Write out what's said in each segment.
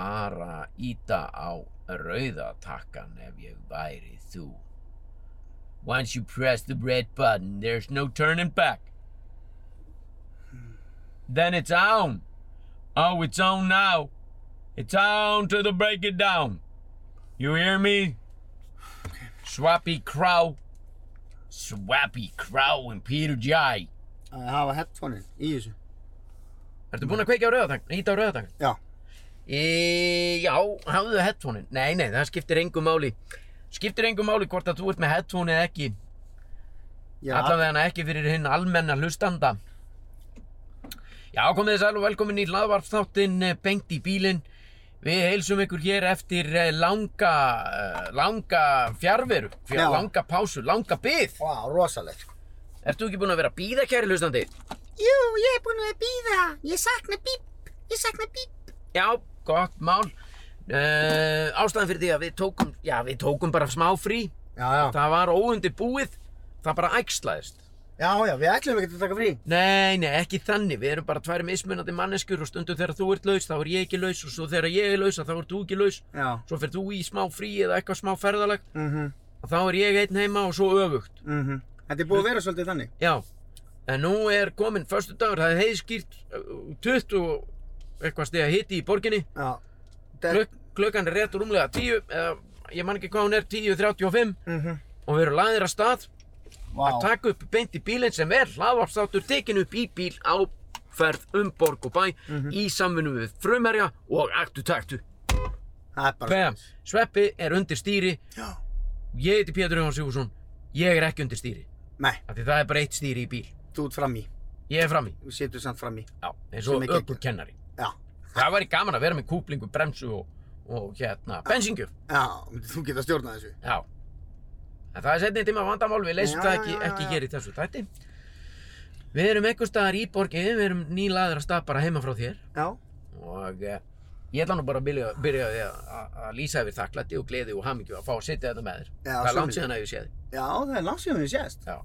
bara ýta á rauða takkan ef ég væri þú. Once you press the red button, there's no turning back. Then it's on. Oh, it's on now. It's on to the break it down. You hear me? Swappy Crow. Swappy Crow and Peter J. að hafa headphone-in í þessu Ertu búinn að kveika á rauðatakn? Íta á rauðatakn? já, E, já, hafðu headphone-in. Nei, nei, það skiptir engu máli. Skiptir engu máli hvort að þú ert með headphone eða ekki. já, Allavega ekki fyrir hinn almenna hlustanda. Já, komið þið sæl og velkomin í hlaðvarpstáttin Bengt í bílinn. Við heilsum ykkur hér eftir eh, langa, eh, langa fjárveru, fjár, Já. langa pásu, langa byð. vá, rosalegt sko. Ertu ekki búinn að vera að bíða, kæri hlustandi? Jú, ég er búin að býða, ég sakna bíp, ég sakna bíp Já, gott mál. Uh, ástæðan fyrir því að við tókum, já, við tókum bara smá frí. Já, já, Það var óundi búið, það bara æxlaðist. já, já, við ætlum ekki að taka frí Nei, nei, ekki þannig, við erum bara tvær mismunandi manneskjur og stundum þegar þú ert laus, þá er ég ekki laus og svo þegar ég er laus, þá ert þú ekki laus. Já, Svo fer þú í smá frí eða eitthvað smá ferðalag, mhm, og þá er ég einn heima og svo öfugt. mhm Þetta er búið að vera svolítið þannig Já, en nú er kominn förstu dagur, það er heiðskýrt, uh, 20 og eitthvað stiga hiti í borginni. Já, Kluk, klukkan er rétt og rúmlega 10, eða ég man ekki hvað hún er, 10.35 mhm, og við erum laðir að stað vá að taka upp beint í bílinn sem er hlaðvarpstáttur tekin upp í bíl á ferð um borg og bæ í samvinnu við frumherja og aktu taktu. Það er bara Bam! Sveppi er undir stýri, Já, ég heiti Pétur Jóhann Sigurðsson, ég er ekki undir stýri. nei, Af því það er bara eitt stýri í bíl. þú ert fram í, Ég er fram í, við situm samt fram í já, eins og Sem er geggjað. ökkur kennari. Já, Það væri gaman að vera með kúplingu, bremsu og, og hérna, bensingjöf. já, þú getur að stjórna þessu Já. En það er setni tíma vandamál, við leysum Já, það já, ekki, já, ekki já. hér í þessu tætti. Við erum einhvers staðar í borginni, við erum nýlaður að stað bara heima frá þér Já, og eh, ég ætla nú bara að byrja, byrja á því að- að að lýsa yfir þakklætti og gleði og hamingju að fá að sitja þetta með þér. Já, það er langt sömuleiðis. síðan að ég séð þig. já, það er langt síðan við sést Já.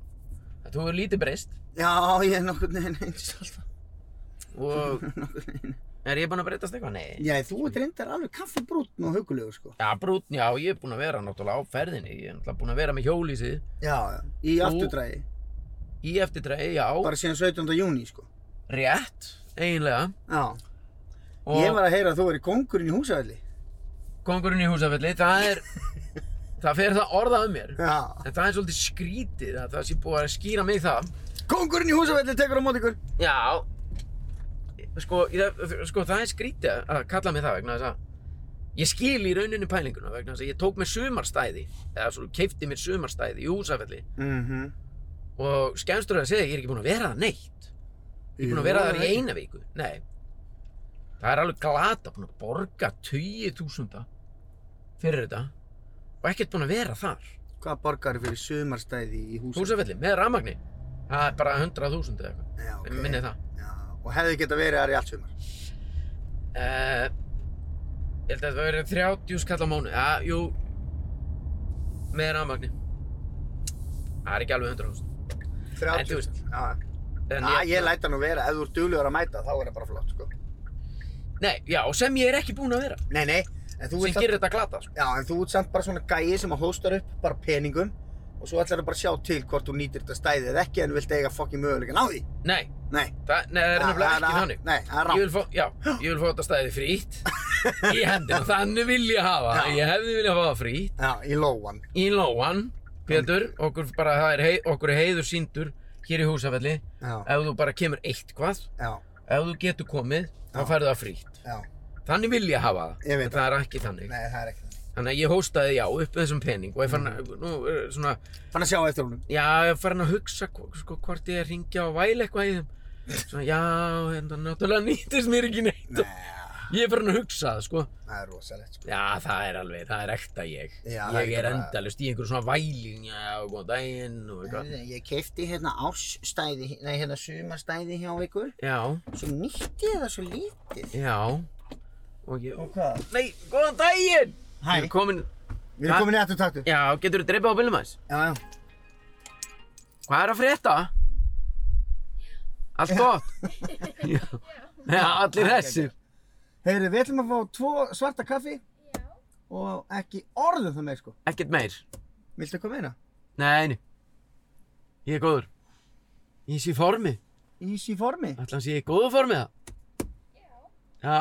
En Þú er lítið breyst Já, ég er nokkur neginn eins alltaf og er ég búinn að breytast eitthvað? Nei. Já, þú ert reyndar alveg kaffibrútn og hugulegur sko Já, brútn, já, ég er búinn að vera náttúrulega á ferðinni, ég er náttúrulega búinn að vera með hjólísið Já, já, í Þú- afturdræði í eftirdregi, já, Bara síðan 17. júni sko rétt, eiginlega. Já, Og- ég var að heyra að þú verið kongurinn í húsavelli Kongurinn í húsafelli, það er það fer það orðað um mér Já en það er svolítið skrítið að það sé búið að skýra mig það Kongurinn í húsavelli tekur á mót ykkur Já sko, ég- sko, það er skrítið að kalla mig það vegna þess að ég skil í rauninu pælinguna vegna þess að ég tók mér sumarstæði eða svo keifti mér sumarstæði í húsafelli mm -hmm. Mhm. og skemmstur að segja, ég er ekki búinn að vera það neitt ég er búinn að vera það í eina viku Nei Það er alveg glata, búinn að borga 20.000 fyrir þetta og ekkert búinn að vera þar Hvað borgar fyrir sumarstæði í húsavelli? Húsafelli með rafmagni Það er bara 100.000 eða eitthvað Já, okay. Minni það Já, og hefði geta verið þar í allt sumar uh, Ég held að þetta verið 30 skall á mánu Já, jú Með rafmagni Það er ekki alveg 100.000 En þú 30 veist, Já, En Já, Ah, ég læta nú vera, ef þú ert duglegur að mæta þá er það bara flott sko Nei, já, sem ég er ekki búinn að vera Nei, nei, en þú, Sem ert samt, gerir þetta glata, sko já, en þú ert samt bara svona gæi sem að hóstar upp bara peningum og svo ætlar það bara að sjá til hvort þú nýtir þetta stæði eða ekki en þú vilt eiga fokkin möguleikann á því Nei, Nei, það, nei, það er nefnilega ekki þannig Nei, Ah, það er Ég rátt vil fá, já, ég vil fá þetta stæði frýtt í hendina, þannig vil ég hafa Já. ég hefði viljað hafa það frýtt Já, í lóan í lóan, Pétur, okkur bara það er hei, okkur er heiður síndur hér í húsafelli, Já, ef þú bara kemur eitthvað, já, ef þú getur komið þá Já. færðu það frýtt, já, þannig vil ég hafa það Ég veit en það er ekki þannig, nei, það er ekki þannig þannig að ég hóstaði já upp með þessum pening og ég Mhm. fann að, nú, er svona, Fann að sjá eftir honum já, ég fann að hugsa hvo- sko, hvort ég er að hringja og væla eitthvað í þeim svona, já, þetta náttúrulega nýtist mér ekki neitt Nei, ég er farin að hugsa það, sko það er rosalegt sko Já, það er alveg, það er ekta ég. Já, það er ég ekki er bara- endalust í einhverjum svona væling, já, góðan daginn og eitthvað. Heyrðu, Ég kefti hérna ársstæði, nei hérna sumarstæði hjá ykkur Já, Svo nýtti ég það svo lítið já. Og ég... hvað? Nei, góðan daginn! Hæ. Ég er komin... Við erum Ha? komin í aftur taktu Já, getur þú dreipað á bílum aðeins? Já, já Hvað er að frétta? Allt gott? já. já, allir það er þessir. Heyrðu, við ætlum að fá tvo svarta kaffi og ekki orðum það meir sko. Ekkert meir. Viltu eitthvað meina? Nei, nei. Ég er góður. Ég sé í formi. Ís í formi? Ætla hans ég er í góðu formi það? Já.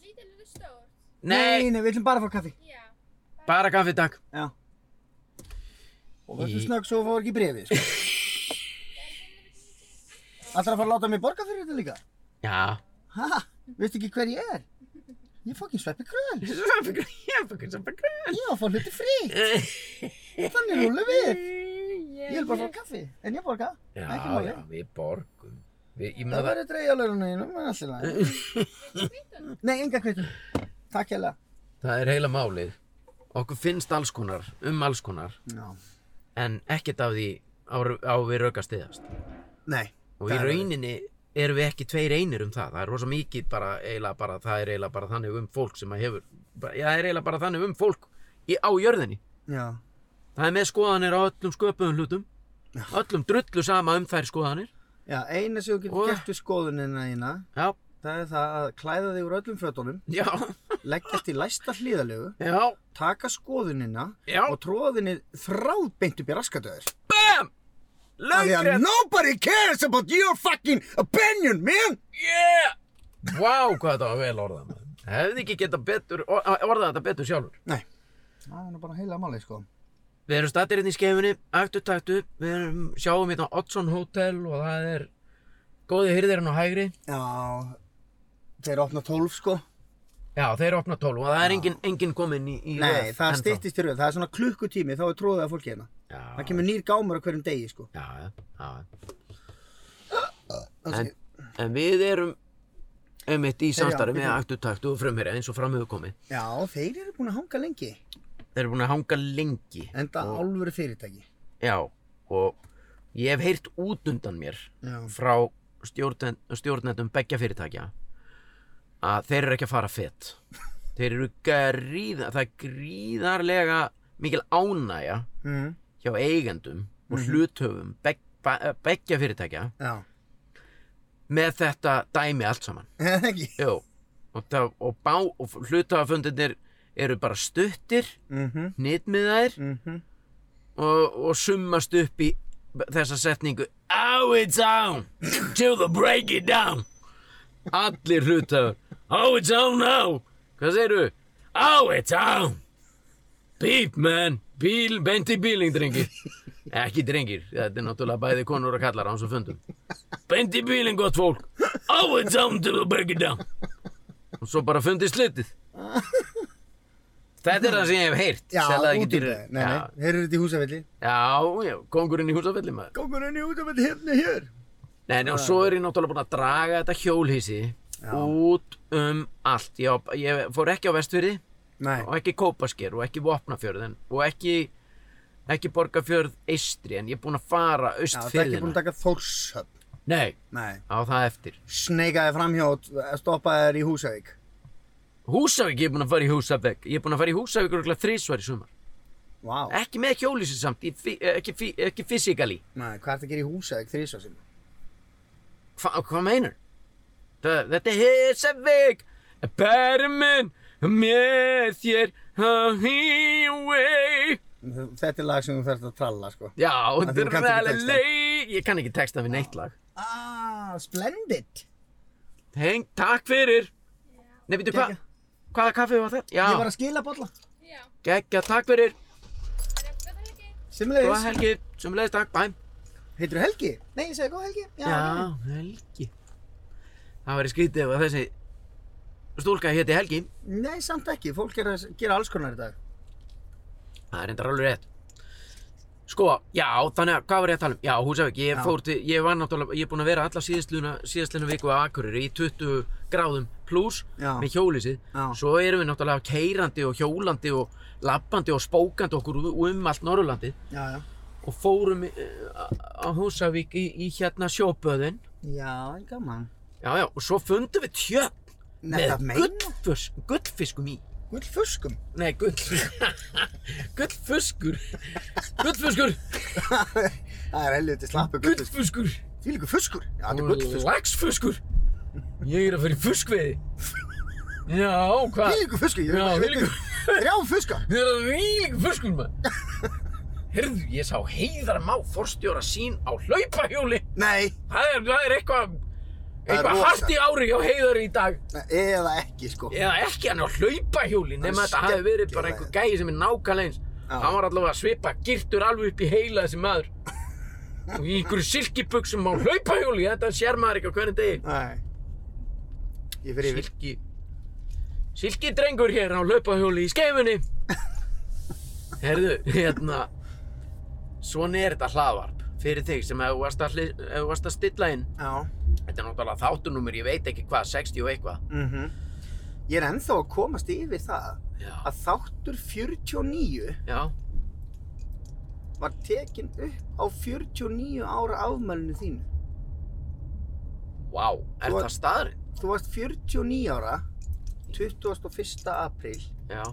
Lítið lítið stórt. Nei, nei, við ætlum bara að fá kaffi. Já. bara kaffi takk. Já. Og verður Í- snögg svo að fá ekki brefið sko. Ætlar að fara að láta mig borga fyrir þetta líka? Já. Ha? Veistu ekki hver ég er? Ég er fokkin sveppi kröðal. Ég er bara gröð, ég er bara gröð. Ég á að fá hluti frí. Þannig rúlu við. Ég vil bara fá kaffi. En ég borga. Já, Ekki máli. já, við borgum. Við, ég meina Það það, verður dreigja lögurinn einum, en allt í lagi. Nei, enga kvittum. Takk hella. það er heila málið. Okkur finnst alls konar, um alls konar, Já. en ekkert af því á, á við raukast yðast. Nei. Og í Það er- rauninni erum við ekki tveir einir um það. Það er rosa mikið bara, eiginlega bara, það er eiginlega bara þannig um fólk sem að hefur, bara- já, það er eiginlega bara þannig um fólk í, á jörðinni. Já. Það er með skoðanir á öllum sköpuðum hlutum, öllum drullu sama um þær skoðanir. Já, eina sem þú getur Og- gert við skoðunina þína, Já, það er það að klæða þig úr öllum fötunum, já, leggjast í læsta hlýðalegu, já, taka skoðunina já, og tróða þinni þráðbeint upp í raskatöður. bam! Laugrétt, nobody cares about your fucking opinion, man! yeah! Vá, hvað þetta var vel orðað maður. Hefði ekki getað betur, or- orðað þetta betur sjálfur. Nei. Það er nú bara heila máli, sko. Við erum stattir hérna í skefinni, aktu taktu, við erum, sjáum hérna Oddsson Hotel og það er góði hyrðirinn á hægri. Já, þeir opna tólf, sko. Já, þeir opna 12 og það er engin, engin kominn í, í Nei, röð það ennþá. styttist í röð, það er svona klukkutími, þá er tróðið af fólki hérna. Það Já, kemur nýr gámur á hverjum degi, sko. já, já, já. Það En, sé- en við erum einmitt í samstarfi já, með aktu taktu og frumherja eins og framöðu komið. Já, þeir eru búin að hanga lengi. Þeir eru búin að hanga lengi. Enda álfur fyrirtæki. Já, og ég hef heyrt út undan mér Já. frá stjórnen, stjórnendum beggja fyrirtækja að þeir eru ekki að fara fett þeir eru gríða, það er gríðarlega mikil ánægja Mm. hjá eigendum og hluthöfum beg, ba- eh, beggja fyrirtækja Já. með þetta dæmi allt saman Er það ekki? Jó, og, það, og, bá, og hluthafafundinir eru bara stuttir Mhm, hnitmiðaðir mhm. og, og summast upp í þessa setningu Oh it's on to the break it down Allir hlutafur Oh it's on now Hvað segirðu? Oh it's on Beep man Bíl, beint í bíling drengir Ekki drengir, þetta er náttúrulega bæði konur og kallar á hans og fundum Beint í bíling gott fólk Oh it's on to the break it down Og svo bara fundið slutið Þetta er það sem ég hef heyrt Já, sel það ekki út um dýrara. það. Nei, Já, nei, þeir eru þetta í húsafelli. Já, já, kongurinn í húsafelli maður. Kongurinn í húsafelli hérna hér. Nei, nei, og svo er ég náttúrulega búinn að draga þetta hjólhísi út um allt. Ég, ég fór ekki á vestfyrði Nei, og ekki Kópasker og ekki Vopnafjörðin og ekki, ekki Borgarfjörð eistri en ég er búinn að fara já, það er ekki búin austfyrðina. að taka Þórshöfn. Nei, Nei. á það eftir. Sneikaði framhjótt, stoppaði þér í Húsavík. Húsavík, ég er búinn að fara í Húsavík. Ég er búinn að fara í Húsavík örgulega þrísvar í sumar. Vá. Ekki með hjólhísi samt, ég, fí- ekki, fí- ekki fysikali. Nei, hvað er það að gera í Húsavík þrísa sinna? Hva, hvað meinar? Það- Þetta er Húsavík, Bermin, með þér á hívei. Þetta er lag sem þú þarft að tralla, sko. Já, En þú kannt ekki dralali, ég kann ekki texta við neitt lag. Ah, splendid. Heng, takk fyrir. Nei, býtu, hvað? Geggjað. Hvaða kaffi var þetta? Ég var Já, að skila bolla. Já. geggja, takk fyrir. Góða Simmulegis. helgi, sumleðist takk, bæm. Heitir Helgi? Nei, ég segi góð Helgi. Já, helgi. Það væri skrítið ef að þessi stúlka héti Helgi. Nei, samt ekki. Fólk er að gera alls konar í dag. Það er reyndar alveg rétt. Sko, já, þannig að hvað var ég að tala um? Já, Húsavík, ég Já. fór til, ég var náttúrulega, ég er búinn að vera alla síðastluna, síðastluna viku á Akureyri í 20 gráðum pluss Já. með hjólísið. Já. Svo erum við náttúrulega keirandi og hjólandi og lappandi og spókandi okkur um allt Norrlandi Já, já. og fórum eh, á á Húsavík í, í hérna sjóböðin. Já, gaman. Já, já, og svo fundum við tjöpp Nei, það með meina. gullfus, gullfiskum í. Gullfuskum. Nei, gull, gullfuskur, gullfuskur, Það er helviti slappu gullfuskum. gullfuskur. Því líka fuskur. Já, þetta er Og gullfuskur. laxfuskur Ég er að fara í fuskveiði Já, hvað? Hvílíku fuski, ég Já, hvílíkur- Þrjá fuska. Þetta er hvílík fuskur maður. Hörðu, ég sá heiðar má forstjóra sín á hlaupahjóli. Nei, Það er, það er eitthvað, Það er eitthvað rosa. hart í ári hjá heiðar í dag. eða ekki sko. Eða ekki hann á hlaupahjóli, nema þetta hafi verið bara einhver gæi sem er nákvæmlega eins. Já. Hann var allavega að svipa girtur alveg upp í heila þessi maður. Og í einhverju silkibuxum á hlaupahjóli, þetta sér maður ekki á hvernig degi. Nei. Ég fer yfir. Silki, silkidrengur hér á hlaupahjóli í skeifunni. Herðu, hérna, svona er þetta hlaðvarp fyrir þig sem ef þú varst að, hli- ef þú varst að stilla inn. Já. Þetta er náttúrulega þáttunumur, ég veit ekki hvað, 60 og eitthvað. mhm. Ég er ennþá að komast yfir það Já, að þáttur 49 já, var tekin upp á 49 ára afmælinu þínu. vá, er Þú- það staðurinn? Þú varst 49 ára, 21. apríl, Já,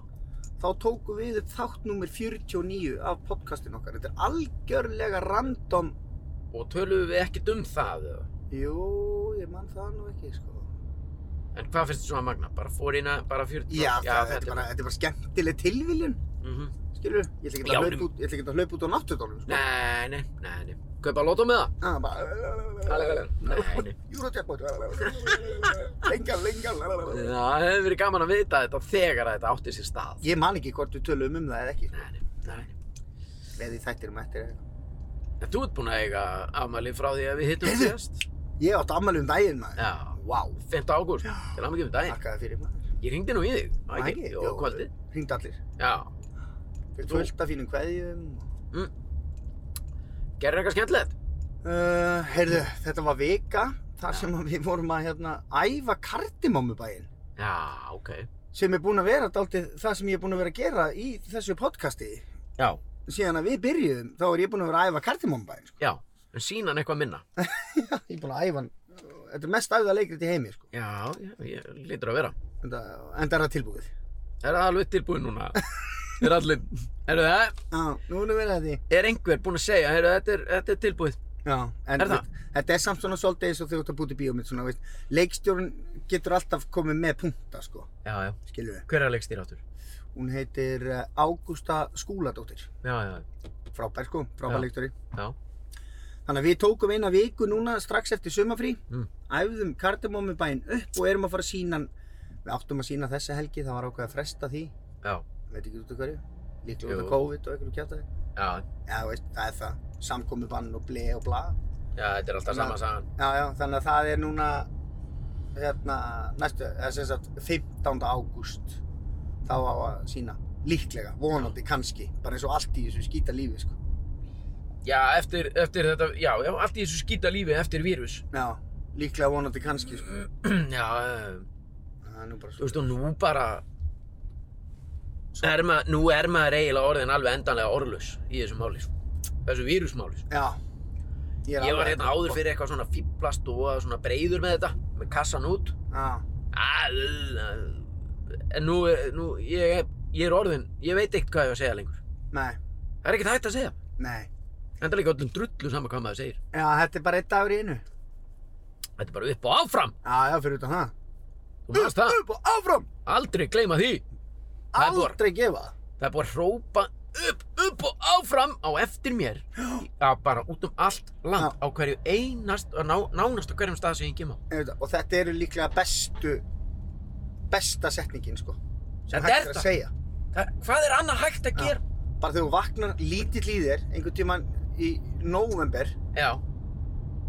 þá tókum við upp þáttnúmer 49 af podcastin okkar. Þetta er algjörlega random. og töluðum við ekkert um það, eða? Jú, ég mann það nú ekki, sko. En hvað finnst þér svona magna? Bara fór inn að, bara 40? Já, það, þetta, er bara, þetta er bara skemmtileg tilviljun, Mm skilur? Ég ætla ekki Já, um- að hlaupa en- út- ég ætla ekki að hlaupa út á náttúrdólum, sko. Nei, nei, nei, nei. Kaupa lótum með það? Það er bara... Nei, nei. Eurojackpot. Lengar, lengar. Það hefði verið gaman að vita þetta þegar að þetta átti sér stað. Ég man ekki hvort við tölum um það eða ekki. Nei, nei, nei, nei. Eða í þættinum eftir eða eitthvað. En þú ert búinn að eiga afmæli frá því að við hittum Heyrðu. síðast? Ég átt afmæli um daginn, maður. Já. Vá. 5. ágúst, til að mikið um daginn. Takkaði fyrir maður. Ég ringdi nú í þig, var það ekki? Jó, kvöldið. Hringd allir. Já. Fyrir Nú. fullt af fínum kveðjum. Gerður eitthvað skemmtilegt? Uh, heyrðu, þetta var vika þar Já. sem að við vorum að hérna, æfa kardimómubæinn Já, ok. sem er búin að vera dálítið það sem ég er búin að vera að gera í þessu podcasti Já. síðan að við byrjuðum þá er ég búin að vera að æfa kardimómubæinn sko. Já, en sína hann eitthvað minna. ég er búin að æfa hann þetta er mest æfða leikrit í heimi sko. Já, ég, ég lítur að vera. enda, enda er það tilbúið Er það alveg tilbúið núna? er allir, er það, Já, nú erum við að því er einhver búinn að segja, er þetta er, þetta er tilbúið? Já, en Er það? þetta- þetta er samt svona svolítið eins og þegar þú ert að búti bíómið svona, veist, leikstjórn getur alltaf komið með punkta sko, Já, já. skilur við Hver er að leikstýra áttur? hún heitir eh, Ágústa Skúladóttir Já, já, frábær sko, frábær Já. leikstjóri já. Þannig að við tókum eina viku núna strax eftir sumafrí, Mm. æfðum kardamómi bæinn upp og erum að fara að sína hann. Við áttum að sína þessa helgi, það var ákveð að fresta því, Já, veit ekki út af hverju, líklega Jú. út af COVID og einhverju kjátaði. já, Já, þú veist, það er það, samkomi bann og ble og bla. já, þetta er alltaf sama sagan. Já, já, þannig að það er núna, hérna, næstu, það er sem sagt 15. ágúst, þá á að sína, líklega, vonandi, kannski, bara eins og allt í þessu skýta lífi, sko. Já, eftir, eftir þetta, já, já, allt í þessu skýta lífi eftir vírus. Já, líklega, vonandi, kannski, sko. Mm. já, eh, Það er nú bara þú svo. veist, og nú bara, er maður, nú er maður eiginlega orðin alveg endanlega orðlaus í þessu máli, sko. þessu vírusmáli, sko. Já. Ég, Ég var hérna áður fyrir eitthvað svona fýblast og var svona breyður með þetta, með kassan út. Já, Ah, uh, En nú, er- nú ég, er- ég er orðinn, ég veit ekkert hvað ég á að segja lengur. nei, Það er ekkert hægt að segja. nei. Enda líka öllum drullu saman hvað maður segir. Já, þetta er bara einn dagur í einu. Þetta er bara upp og áfram. Já, já, fyrir utan það. Þú mannst það? Upp og áfram! Aldrei gleyma því. Það er búið. Aldrei gefa það. Það er búið að hrópa upp, upp og áfram á eftir mér. Já, bara út um allt land á hverju einast, ná, nánast á hverjum stað sem ég kem á. Ég veit það. Og þetta eru líklega bestu, besta setningin, sko. sem Þetta hægt er að það. segja. það. Hvað er annað hægt að Já. gera? Bara þegar þú vaknar lítill í þér, einhvern tíman í november, Já,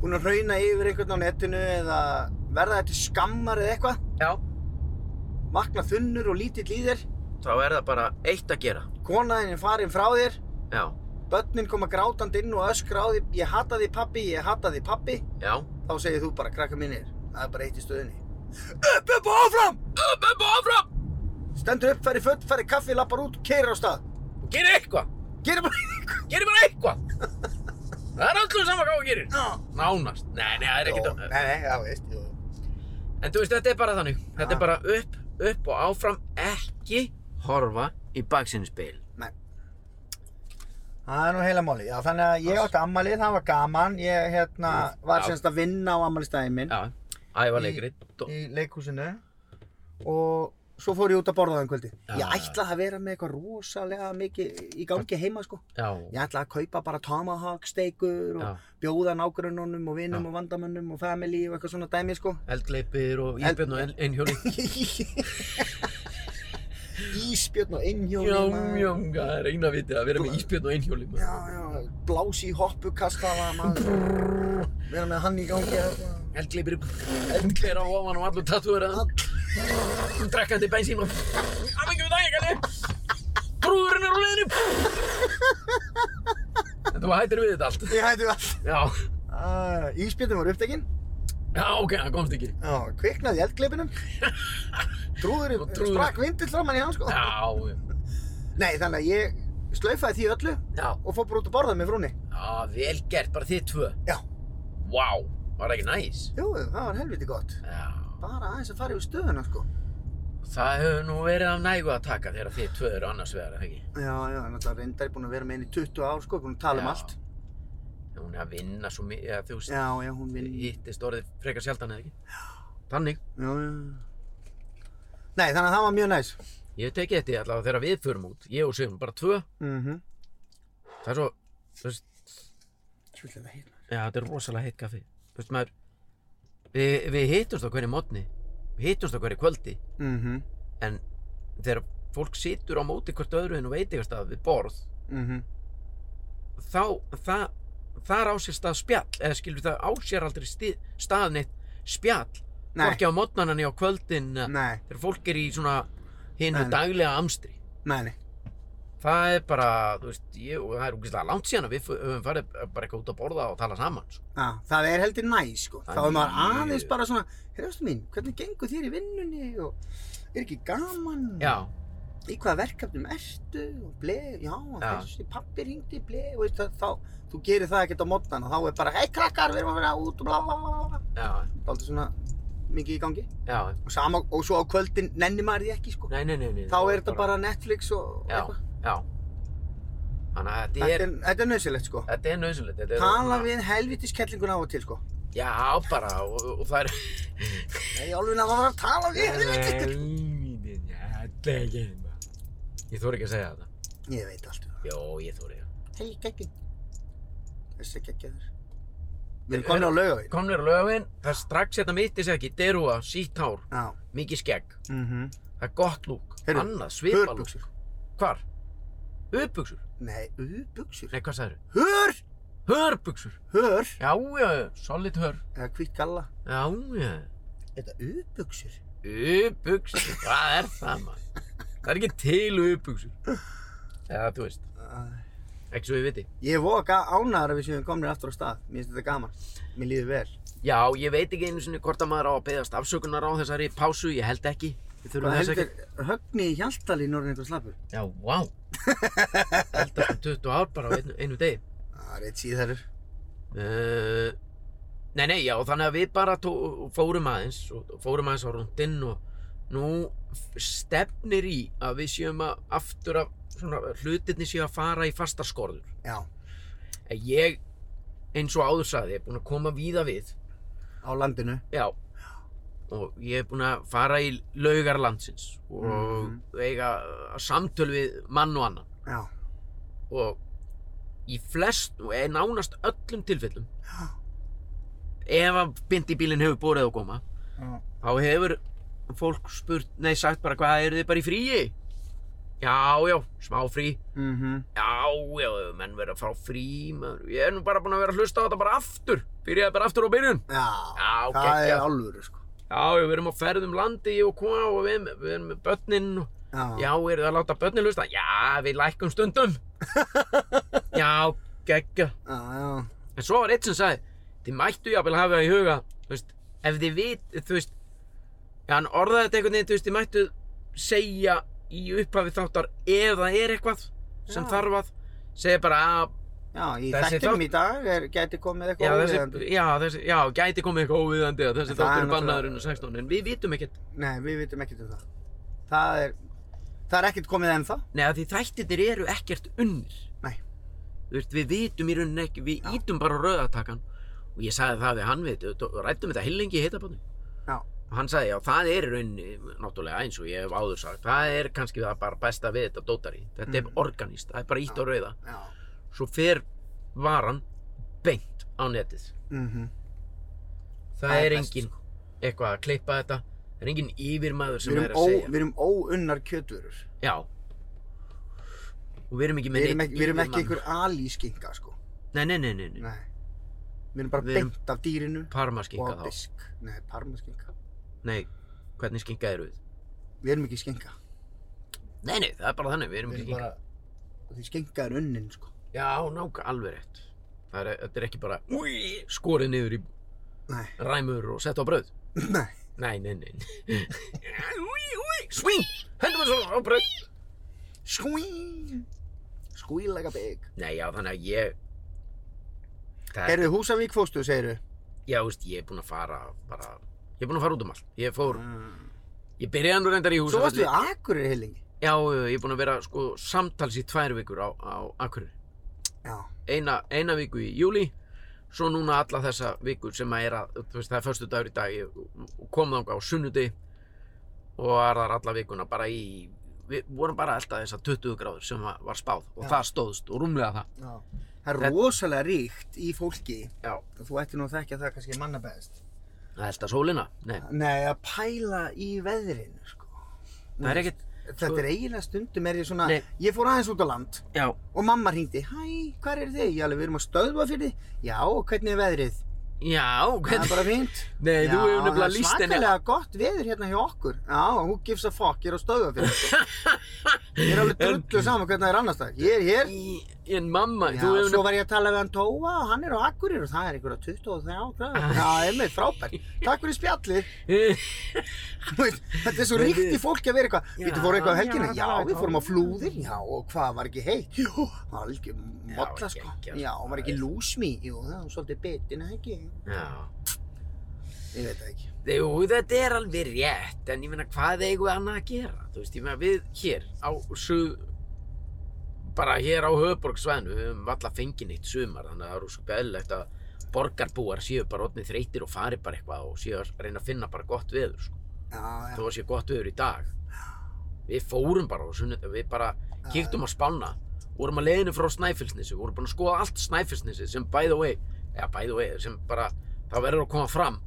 búinn að hrauna yfir einhvern á netinu eða verða þetta skammar eða eitthvað, já. vakna þunnur og lítill í þér, Þá er það bara eitt að gera. konaðin er farin frá þér, Já, börnin koma grátandi inn og öskra á því, ég hata því pappi, ég hata því pappi. já. þá segir þú bara krakka mínir það er bara eitt í stöðinni upp, upp og áfram Upp, upp og áfram! stendur upp, færi föt, færi kaffi, lappar út, keirir á stað Og gerir eitthvað! gerir bara eitthvað Gerir bara eitthvað! það er alltaf sama hvað þú gerir. Nánast. Nei, nei, það er Jó, ekkert... nei, nei, já, veist jú. En þú veist, þetta er bara þannig. Þetta Ah. er bara upp, upp og áfram. Ekki horfa í baksinnspeil. það er nú heila máli, já, þannig að ég átti ammalið það var gaman, ég hérna var Já. semst að vinna á ammaliðstæðin minn Já. Æfa leikrit. í leikhúsinu og svo fór ég út að borða það um kvöldi Já, já. ég ætlaði að vera með eitthvað rosalega mikið í gangi heima sko já, ég ætlaði að kaupa bara tomahawk steikur og já. bjóða nágrununum og vinum Já. og vandamönnum og family og eitthvað svona dæmi sko Eldleipir og íbjörn og ein- einhjóli. Ísbjörn og innhjóli Já, maður. já, það er eina vitið að vera með íbjörn og einhjóli. maður. já, já, blás í hoppu kastaða maður vera með hann í gangi þarna. Eldgleipir, eldgleipir á ofan og allur tattúverið. Drekkandi bensín og... Afengjum við dagekandi! Brúðurinn er á leiðinu! En Þú hættir við þetta allt. ég hættu all Já, uh, Ísbjörn var upptekinn já, ok, hann komst ekki. Já, kviknaði í eldgleipinum Trúður, Og trúður. sprakk vindill framann í hann sko Já, Nei, þannig að ég slaufaði því öllu já, og fór bara út að borða með frúni já, vel gert, bara þið tvö. Já, Vá, var það ekki næs? jú, það var helviti gott Já, Bara aðeins að fara yfir stöðuna sko það hefur nú verið af nægu að taka þegar þið tvö eru annars vegar, ekki? Já, já, náttúrulega reyndar búin að vera með henni í 20 ár sko, búin að tala um Já. allt Hún er að vinna svo mikið, eða þú veist, Já, já, hún vinn Já, hittist orðið frekar sjaldan eða ekki? Þannig, já Nei, þannig að það var mjög næs ég hef tekið þetta allavega þegar við förum út, ég og Sigrun, bara tvö, Mhm það er svo, þú veist, Svolítið það hérna já, þetta er rosalega heitt kaffi, þú veist maður, við, við hittumst á hverju mótni, við hittumst á hverju kvöldi, Mhm, en þegar fólk situr á móti hvort öðru en veit eitthvað stað við borð, mhm þá, það, þar á sér stað spjall, eða skilur það á sér aldrei stið, stað neitt spjall, Nei. hvorki á mótnana á kvöldin, eða- Nei, þegar fólk er í svona hinu Nei, nei. daglega amstri. nei, nei Það er bara, þú veist, ég, og það er úkislega langt síðan að við fu- höfum farið bara eitthvað út að borða og tala saman, sko. Já, það er heldur næ, sko. Þá Það er maður er- aðeins bara svona, hérstu mín, hvernig gengur þér í vinnunni og er ekki gaman? Já, Í hvaða verkefnum ertu og blei, já, Já. þessi pappi ringdi blei, og veist það, þá, þú gerir það ekkert á mótnana, þá er bara, hei krakkar, við erum að vera út og bla bla bla bla. já, Það er aldrei svona mikið í gangi. já, Og sama, og svo á kvöldin nenni maður því ekki, sko. nei, nei, nei, nei. Þá er þetta bara Netflix og já, eitthvað. já. Þannig að þetta Þetta er, er, þetta er nöðsilegt, sko. þetta er nöðsynlegt, þetta er... Tala svona- við helvitiskellinguna á og til, sko. Já, bara, og, og það er... Nei, alveg að það var að tala við helvitiskellinguna. Helvítið, þetta er ekki einhver. Ég þóri ekki að segja þetta. Ég veit allt um það. Jó, ég þóri það. Hei, geggjum. Þessi geggjaður. Við erum komin á laugavinn. Komnir á lögavinn, það er strax hérna mitt, ég segi ekki, derúa, sítt hár, Já. mikið skegg, Mm -hmm. það er gott lúk, Heyrðu, annað, svipalúk. Hörbuksur. Hvar? Uppbuksur? Nei, hörbuksur. Nei, hvað sagður? Hör! Hörbuksur? Hör! Já, já, já, solid hör. Eða hvitt galla. Já, já. Þetta hörbuksur. Uppbuksur, hvað er það maður? Það er ekki til uppbuksur. Eða, þú veist, ekki svo ég viti. Ég voga ánæður að við séum komin aftur á stað. Mér finnst þetta gaman. Mér líður vel. Já, ég veit ekki einu sinni hvort að maður á að beðast afsökunar á þessari pásu, ég held ekki. Við þurfum Hvað þess ekki. heldur, högni í Hjaltalín orðin eitthvað slappur? Já, vá. Eldast um 20 ár bara á einu, einu degi. Það er eitt síðarur. Uh, nei, nei, já, þannig að við bara tó, fórum aðeins og og fórum aðeins á rúndinn og nú f- stefnir í að við séum að aftur að svona, hlutirni séu að fara í fasta skorður. Já. En Ég, eins og áður sagði, ég er búinn að koma víða við, Á landinu. já, og ég er búinn að fara í laugar landsins og Mhm. eiga uh, samtöl við mann og annan Já. og í flest og er nánast öllum tilfellum Já. ef að bindibílinn hefur borið á góma þá hefur fólk spurt, nei sagt bara hvað eru þið bara í fríi já, já, smá frí Mm -hmm. já, já, menn verða að fá frí maður. ég er nú bara búin að vera að hlusta á þetta bara aftur byrjaði bara aftur á byrjun Já. Já, það geggjað. er alvöru, sko. já, já, við erum á ferðum landi ég og hvað og við, við erum með börnin og Já. Já, eru það að láta börnin hlusta? Já, við lækum stundum. já, geggja. Já, já. En svo var eitt sem sagði, þið mættu jafnvel hafa í huga, þú veist, ef þið vit, þú veist, já, hann orðaði þetta einhvern veginn, þú veist, þið mættu segja í upphafi þáttar ef það er eitthvað sem Já. þarf að, segja bara að, Já, í Þessi þættinum þátt- í dag er, geti komið já, eitthvað óviðeðandi. þessi, já, þessi, já, gæti komið eitthvað óviðandi að þessi En það þáttur er er bannaður náttúrulega- inn á 16, en við vitum ekkert, Nei, við vitum ekkert um það. Það er, það er ekkert komið ennþá. neða því þættirnir eru ekkert unnir. Nei. Þú veist, við vitum í rauninni ekki, við Já. ítum bara á rauðatakan og ég sagði það við hann við, og rættum þetta heilengi í heitabannum. Já. hann sagði, já, það er í rauninni, náttúrulega eins og ég hef áður sagt, það er kannski það bara besta við þetta dótari. Þetta Mhm. er organíst, það er bara ítt á rauða. já. Svo fer varan beint á netið. Mm Það, Það er er, best, sko. engin eitthvað að klippa þetta, það er engin yfirmaður Við sem er erum, að ó, segja. við erum óunnar kjötvörur. Já. Og við erum ekki með Við erum neinn ekki, við erum ekki yfirmann. einhver alískinga, sko. Nei, nei, nei, nei, nei. Nei. Við erum bara Við erum- beint af dýrinu og Parmaskinka af þá. disk. Nei, parmaskinga. Nei, hvernig skinka eru við? Við erum ekki skinga. Nei, nei, það er bara þannig, við erum Við ekki erum skinka. bara, því skinga er unnin, sko. Já, nák, alveg rétt. Það er, þetta er ekki bara úi, skorið niður í Nei, ræmur og sett á brauð. nei. Nei, nei, nei. úi, úi, svín, hendum við svo á brauð. Skvín! Skvílega bygg. Nei, já, þannig að ég, það, Herðu, Húsavík fóstu, segiru. já, veist, ég er búinn að fara bara, ég er búinn að fara út um allt. Ég fór, Mm. ég byrjaði nú reyndar í húsa. Svo varstu við Akureyri heilingi. Já, ég er búinn að vera, sko, samtals í tvær vikur á, á Akureyri. Já. eina, eina viku í júli svo núna alla þessa viku sem að er að, þú veist, það er förstu dagur í dag ég kom þangað á sunnundi og var þar alla vikuna bara í við vorum bara alltaf þessar 20 gráður sem var, var spáð og Já. það stóðst og rúmlega það Já. Það Þetta- er rosalega ríkt í fólki. Já. Þú ættir nú að þekkja það kannski manna best. Það elda sólina, nei, Nei, að pæla í veðrinu, sko. það er ekkert sko- Þetta er eiginlega stundum er ég svona, Nei. ég fór aðeins út á land Já, og mamma hringdi, hæ, hvað er þið? Ég alveg, við erum að stöðva fyrir þið. Já, og hvernig er veðrið? já, Það er hvernig bara fínt. Nei, Já, þú hefur það nefnilega er líst henni svakalega gott veður hérna hjá okkur. Já, who gives a fuck, ég er að stöðva fyrir þið. Ég er alveg drullu saman hvernig það er annars það. Ég er hér. Í- En mamma, Já, þú hefur svo var ég að tala við hann Tóa og hann er á Akureyri og það er einhverja 23 gráður. Já, einmitt, frábært. Takk fyrir spjallið. nefnilega Þú veist, Þetta er svo Nei, ríkt í við- fólki að vera eitthvað Já, Við þú fóru eitthvað já, á helgina, já, það var við fórum eitthvað. á flúðir Já, og hvað, var ekki heitt? Jú, algjör Já, modla sko geggjað, Já, sko, var ekki það er- lúsmi Jú, það var svolítið betin, eða ekki Já Ég veit það ekki Jú, þetta er alveg rétt, en ég meina hvað eigum við annað að gera? Þú veist, ég meina við hér á suð, bara hér á höfuborgsvæðinu, við höfum alltaf fengið neitt sumar, þannig að það eru svo gæðilegt að borgarbúar séu bara orðnið þreytir og fari bara eitthvað og séu að reyna að finna bara gott veður, sko. Já, Þó að séu gott veður í dag. Við fórum bara á sunnundag, við bara kíktum að spána, vorum að leiðinu frá Snæfellsnesi, vorum búin að skoða allt Snæfellsnesi sem by the way, eða by the way, sem bara, það verður að koma fram.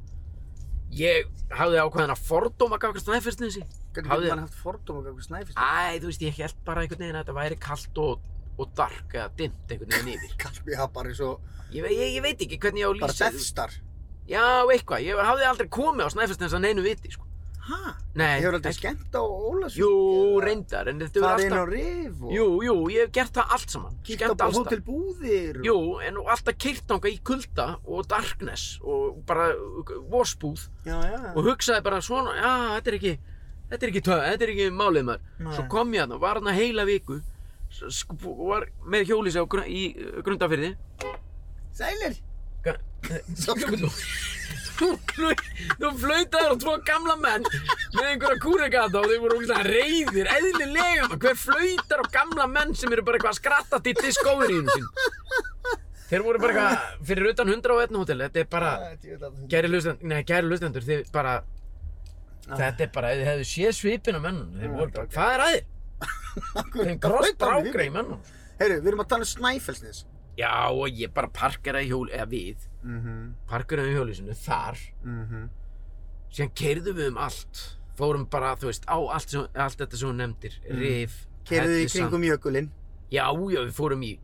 Ég hafði ákveðin að fordóma gafkast Snæfellsnesi. já, hvernig hafði- getur mann haft fordóma Hvað snæfist? Æ, þú veist, ég held bara einhvern veginn að þetta væri kallt og, og dark eða dimmt einhvern veginn yfir. Kalbi, já, bara svo Ég, ve- ég, ég veit ekki hvernig ég á að Bara lýsa. Death Star Já, eitthvað, ég hafði aldrei komið á Snæfellsnesi að neinu viti, sko. Hæ? Nei. Ég hefur aldrei ekki- skemmt á Ólasvík Jú, eða reyndar, en þetta Farið verður inn á alltaf... Rif og Jú, jú, ég hef gert það allt saman. sko. Kíkt Skemmt á alls staðar. hótelbúðir Jú, en og alltaf keirt þangað í kulda og darkness og bara vospúð Já, já og hugsaði bara svona, já, þetta er ekki, þetta er ekki töð, þetta er ekki málið maður. Nei. Svo kom ég þarna, var þarna heila viku, s- sk- var með hjólísi á gr í uh, grundafyrði. Sælir Ga- Svo- Þú flau- þú flautaður á tvo gamla menn með einhverja kúregata og þeir voru úrlega reyðir, eðlilega maður. Hver flautar á gamla menn sem eru bara eitthvað að skratta til diskóverínu sín? Þeir voru bara eitthvað fyrir utan 101 hótel, þetta er bara... Æ, djú, þetta- Gæri lustendur, nei, gæri lustendur, þið bara, þetta er bara, ef þið hefðu séð svipin á mennum, þið voru bara, hvað er að þér? Þeim gross brákra í mennum. Heyrðu, við erum að tala um Snæfellsnes. Já, og ég bara parkeraði hjól, eða við, Mhm, parkeraði hjólísinu þar, mhm. síðan keirðum við um allt, fórum bara, þú veist, á allt, sem, allt þetta sem hún nefndir, rif, Keirðu Mm. í Hellissand. kringum jökulinn. Já, já, við fórum í,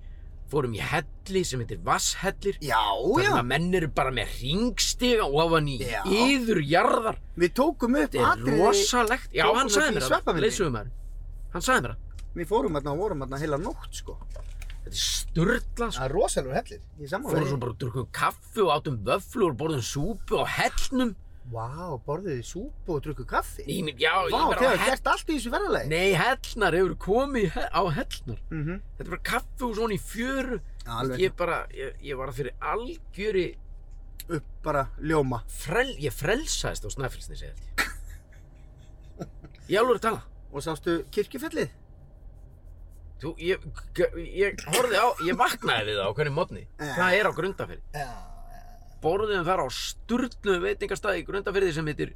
fórum í helli sem heitir Vasshellir, Já, þannig já. að menn eru bara með ringstiga ofan í Já. yðurjarðar. Við tókum upp Þetta er atriði- rosalegt. Já, tókum hann við sagði því mér það. sveppamyndinni. Leysumæður. Hann sagði mér það. Við fórum hérna og vorum hérna heila nótt, sko. Þetta er störtla, sko. er rosalur hellir. Ég sammála. Fórum svo bara og drukum kaffi og átum vöflur og borðum súpu á hellnum. Vá, borðuðu þið súpu og drukku kaffi? Í mér, já, ég Vá, var á þið hefur hellnar. gert allt í þessu verðalegi. Nei, hellnar hefur komið í he- á hellnar. Mhm. Þetta er bara kaffi og svona í fjöru. Alveg. Ég bara, ég, ég var fyrir algjöri Upp bara ljóma. frel... Ég frelsaðist á Snæfellsnesi, held ég. Ég alveg er að tala. Og sástu kirkjufellið? Þú, ég, ég horfði á, ég vaknaði við það á hvernig mótni. Það er á grundafyrir. Já, já. borðum þar á sturglu veitingastæði í grundafyrði sem heitir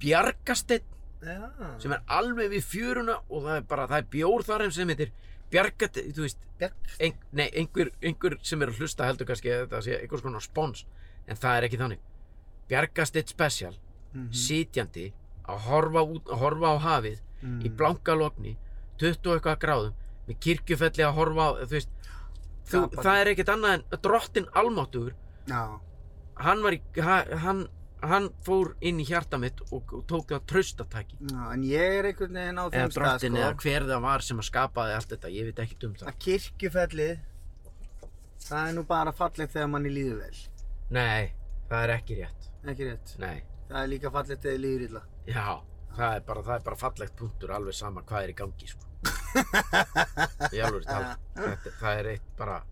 Bjargasteinn Já, sem er alveg við fjöruna og það er bara, það er bjór þar sem heitir Bjargasteinn, þú veist, bjarg ein, nei, einhver, einhver sem er að hlusta heldur kannski að þetta sé einhvers konar spons en það er ekki þannig. Bjargasteinn special, sitjandi að horfa, út, að horfa á hafið í Mhm. blanka logni 20 og eitthvað gráðum með kirkjufelli að horfa á, þú veist þú, Gapandi. það er ekkert annað en að drottin almáttugur Já, hann var í, ha- hann, hann fór inn í hjarta mitt og, og tók það traustataki já, en ég er einhvern veginn á eða þeim stað drottin sko eða hver það var sem að skapaði allt þetta, ég veit ekkert um það að kirkjufellið það er nú bara fallegt þegar manni líður vel nei, það er ekki rétt ekki rétt, nei, það er líka fallegt þegar líður illa já það er bara, það er bara fallegt punktur alveg sama hvað er í gangi sko. Í alvöru talað. Þetta- það er eitt bara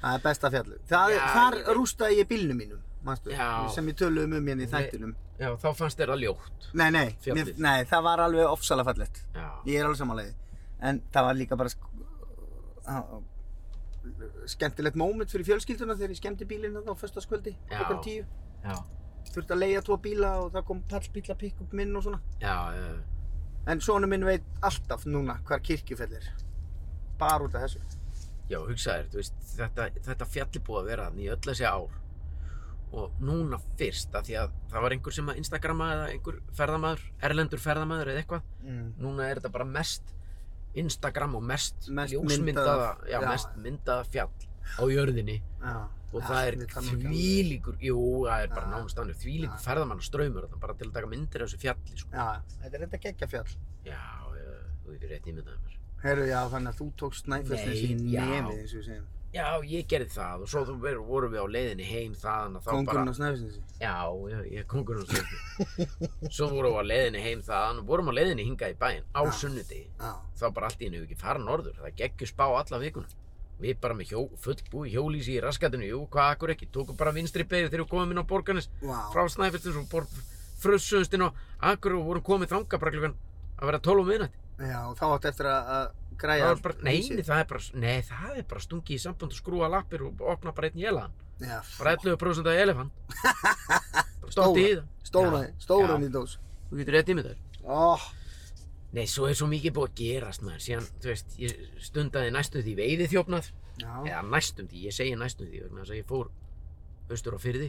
það er besta fjallu það, Já, þar ég veit. rústaði ég bílnum mínum manstu, Já. sem ég töluðum um hérna Nei. í þættinum já, þá fannst þér það ljótt nei, nei, mér, Fjallið. nei, það var alveg ofsalega fallegt já, ég er alveg samanlegið en það var líka bara sk á- skemmtilegt moment fyrir fjölskylduna þegar ég skemmti bílinn þarna á föstaskvöldi Já. klukkan tíu já, þurfti að leiga tvo bíla og það kom pallbíla pick-up minn og svona já, já. en sonu minn veit alltaf núna hvar kirkjufell er bara út af þessu Já, hugsaður, þú veist, þetta, þetta fjall er búið að vera þannig í öll þessi ár og núna fyrst að því að það var einhver sem að Instagrama eða einhver ferðamaður, erlendur ferðamaður eða eitthvað, mm. núna er þetta bara mest Instagram og mest, Mest ljósmyndaða, myndað- já, já. mest myndaða fjall á jörðinni já, og Já, það er við Ah. þarfum ekki alveg- þvílíkur, jú, það er bara Já. nánast annir, þvílíkur Já. ferðamannastraumur þarna, bara til að taka myndir af þessu fjalli, sko. já, þetta er þetta geggja fjall Já, já, þú hefur rétt ímyndaðið mér. herru já þannig að þú tókst snæfellsnes í Nei, já. nefið eins og við segjum Já, ég gerði það og svo þú verður- vorum við á leiðinni heim þaðan og þá bara... kongurinn á snæfellsnesi Já, já, ég er kongurinn og stjórnir. Svo vorum við á leiðinni heim þaðan, vorum á leiðinni hingað í bæinn á Ah. sunnudegi. já, Þá bara allt í henni ekki fara norður, það geggjur spá alla vikuna. Við bara með hjó, fullbúi hjólísi í raskatinu, jú, hvað akkur ekki, tókum bara vinstri beigðu þegar við komum inn á borgarnes vá frá Snæfellsins og bor, frössuðust inn á akkur og vorum komið þangað bara klukkan að vera 12 um miðnætt. já, og þá átt eftir að, að græja Það var bara, nei, það er bara, nei, það er bara stungið í samband og skrúa lappir og opna bara einn jélagan. já, Bara 11% af elefant. Stótti í það. stóra, Já, stóra já. í dós Þú getur rétt ímyndar. oh, Nei, svo er svo mikið búið að gerast maður, síðan, þú veist, ég stundaði næstum því veiði þjófnað, já, eða næstum því, ég segi næstum því, vegna þess að ég fór austur á fyrði.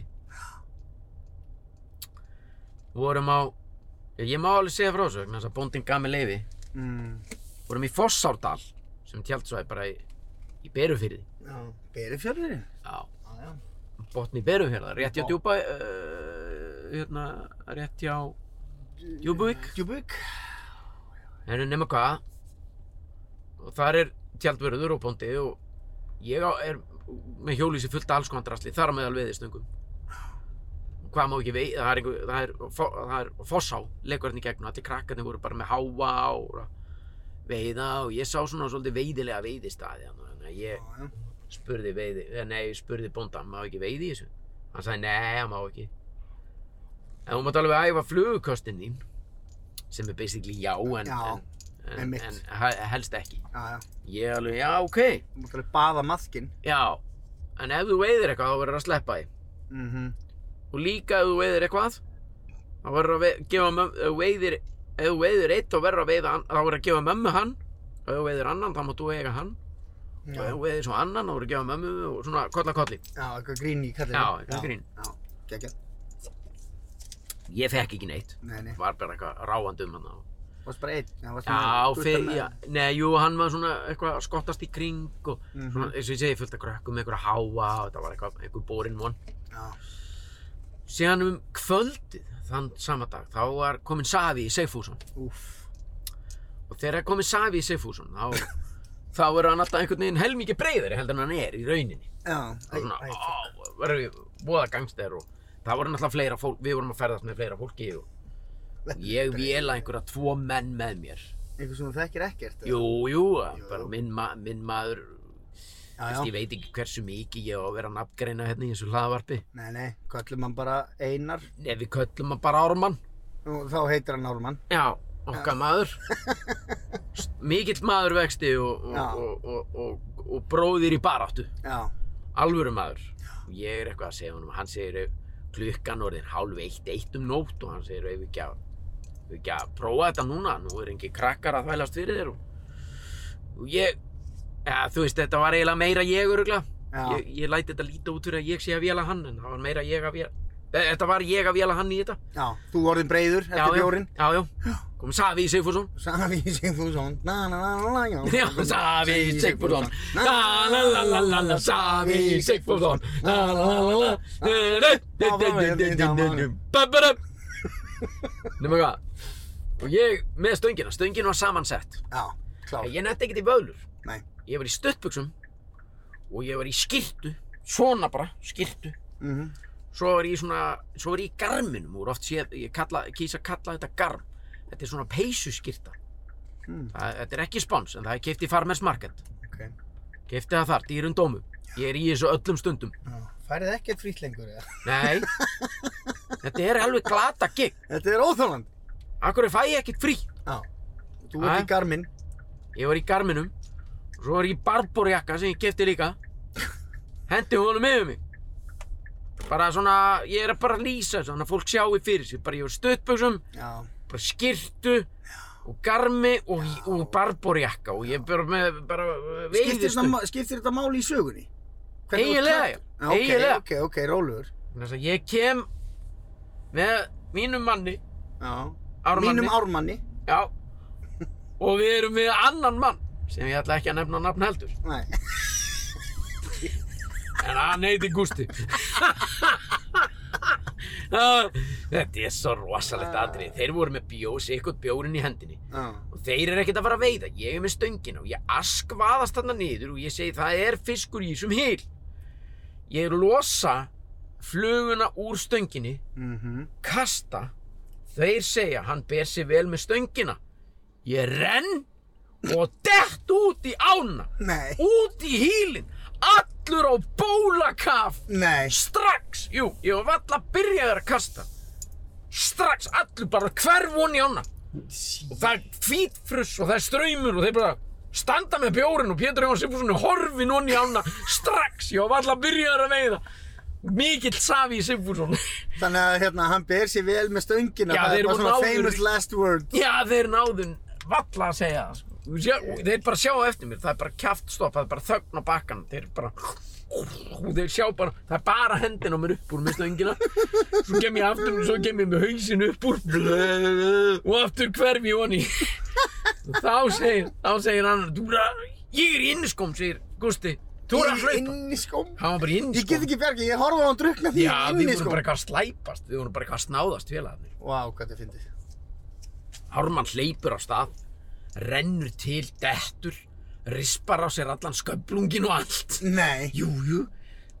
Vorum á, ég má alveg segja frá þessu, vegna þess að bóndin gaf mér leiði, mm, vorum í Fossárdal, sem tjaldsvæði bara í, í Berufyrði. já. berufjörðurinn Já, já, já. botni Berufyrða, rétt hjá Botn. djúpa, uh, hérna, rétt hjá Djúbuvík. Djúbuk En nema hvað og þar er tjaldverður og bóndi og ég á, er með hjólísi fullt af alls konar drasli, þar á meðal veiðistöngum Og hvað má ekki veið það er, einhver, það er, fo- það er fossá leikur hann í gegn og allir krakkarnir voru bara með háa og veiða og ég sá svona svolítið veiðilega veiðistaði þannig að ég já, spurði veiði, eh, nei, spurði bónda, má ekki veiði í þessu? Hann sagði, nei, hann má ekki. En hún mátt alveg æfa flugukostin þín, sem er basically já, en, Já, en, en, einmitt. en he- helst ekki. já, já. Ég alveg, já, ok, þú mátt alveg baða maðkinn já, en ef þú veiðir eitthvað, þá verður að sleppa því. mm Og líka ef þú veiðir eitthvað, þá verður að vei- gefa mömmu, ef þú veiðir, ef þú veiðir eitt, þá verður að veiða, hann- þá verður að gefa mömmu hann, og ef þú veiðir annan, þá máttu eiga hann, og ef já, þú veiðir svo annan, þá verður að gefa mömmu, og svona, kolla kolli. já, eitthvað grín í kallinu Já, eitthvað grín. já, geggja, Ég fekk ekki neitt. nei, nei, var bara eitthvað ráandi um hann varst bara einn já, varst Já, með gutta fyrir, með- já, nei, jú, hann var svona eitthvað að skottast í kring og Mhm. svona, eins og ég segi, fullt af krökkum með eitthvað háa og þetta var eitthvað, eitthvað borin von já, Síðan um kvöldið, þann sama dag, þá var komin Savi í Seifússon úff og þegar er komin Savi í Seifússon, þá, þá er hann alltaf einhvern veginn helmingi breyðari heldur en hann er í rauninni Já, og æ, svona, æ, á, verður við voða gangstæður og það voru náttúrulega fleira fólk, við vorum að ferðast með fleira fólki og ég véla einhverja tvo menn með mér eitthvað sem þú þekkir ekkert eða? Jú, jú, Jú, bara jú. minn, ma minn maður, já, veist, já. ég veit ekki hversu mikið ég á að vera að nafngreina hérna í þessu hlaðvarpi. Nei, nei, kallum hann bara Einar Nei, við köllum hann bara Ármann. og þá heitir hann Ármann Já, okkar maður. S- Mikill maður vexti og, Já. og, og, og, og, og bróðir í baráttu. Já, Alvöru maður. Og Ég er eitthvað að segja honum, hann segir ef- klukkan orðin hálf eitt, eitt um nótt og hann segir ef við ekki að ekki að prófa þetta núna, nú er engin krakkar að þvælast fyrir þér og, og ég, ja, þú veist, þetta var eiginlega meira ég örugla. Já. Ég, ég læti þetta líta út fyrir að ég sé að vela hann, en það var meira ég að vela, eh, þetta var ég að vela hann í þetta. Já, þú orðin breyður eftir bjórin. Já, já, já, kom Savi Sigfússon. Safi Sigfússon, na na na na na já. Já, Savi Sigfússon, Na, la la la la la la, Savi Sigfússon, la la la la la, la la la la la la la. Böbburum Nefnum hvað Og ég með stöngina, stöngin var samansett Já, klár. Ég nefndi ekkert í vöðlur Nei. Ég var í stuttbuxum Og ég var í skyrtu Svona bara, skyrtu Mhm. Svo var ég í svona, svo var ég í garminum Úr oft séð, ég kalla, kýs að kalla þetta garm Þetta er svona peysuskyrta Mm. það, Þetta er ekki spons, en það er keypt í Farmers Market Ok. Keypti það þar, dýrun dómum Ég er í þessu öllum stundum Já. Færið ekkert frýtt lengur eða? Nei Þetta er alveg glata gig Þetta er óþálandi. Akkur fæ ég ekkert frí Já. Þú ert Æ? í garminn. Ég var í garminum og svo var ég í barborjakka sem ég kefti líka hendi honum yfir mig bara svona, ég er að bara lýsa svona að fólk sjái fyrir sér, bara ég var stuttbuxum Já. bara skyrtu og garmi og, og barborjakka og ég bara með bara Skiptir þetta, veiðistu ma- skiptir þetta máli í sögunni? Eiginlega, já. já. Ok, Eiginlega. ok, ok, rólegur. þess að ég kem með mínum manni Já. Ármanni Mínum ármanni. já, og við erum með annan mann sem ég ætla ekki að nefna nafn heldur Nei. En hann heiti Gústi Þetta er svo rosalegt atrið Þeir voru með bjós, eitthvað bjórinn í hendinni Já. Og þeir eru ekkert að fara að veiða Ég er með stöngina og ég askvaðast þarna niður Og ég segi það er fiskur í þessum hýl Ég losa fluguna úr stönginni Mhm. Kasta Þeir segja hann ber sig vel með stöngina Ég renn Og dett út í ána Nei. Út í hýlinn Allur á bólakaf Nei. strax, jú, ég var valla byrjaður að kasta strax, allir bara hverf von í ána og það er hvítfruss og það er ströymur og þeir bara standa með bjórin og Pétur Jóhann Sigfússon er horfin von í ána strax, ég var valla byrjaður að veiða mikill safi í Sigfússon Þannig að hérna, hann ber sér vel með stöngina. Já, það þeir er bara voru svona áður í- famous last word. já, þeir náðun valla að segja það sko. Þú Sjá, og þeir bara sjá eftir mér, það er bara kjaftstopp það er bara þögn á bakkan þeir bara og þeir sjá bara, það er bara hendin á mér upp úr með stöngina svo kem ég aftur og svo kem ég með hausin upp úr og aftur hverf ég honi og þá segir þá segir hann "Þú er að- ég er í innskóm, segir Gusti þú er að hlaupa Inn í skóm. hann var bara í Ég get innskóm ekki bjargið, ég horfa á hann drukna því já, við inn í vorum skóm. bara eitthvað að slæpast við vorum bara eitthvað að snáðast félagarnir Vá, hvað þið fyndið. Ármann hleypur á stað, rennur til, dettur, rispar á sér allan sköflungin og allt. Nei. Jú, jú.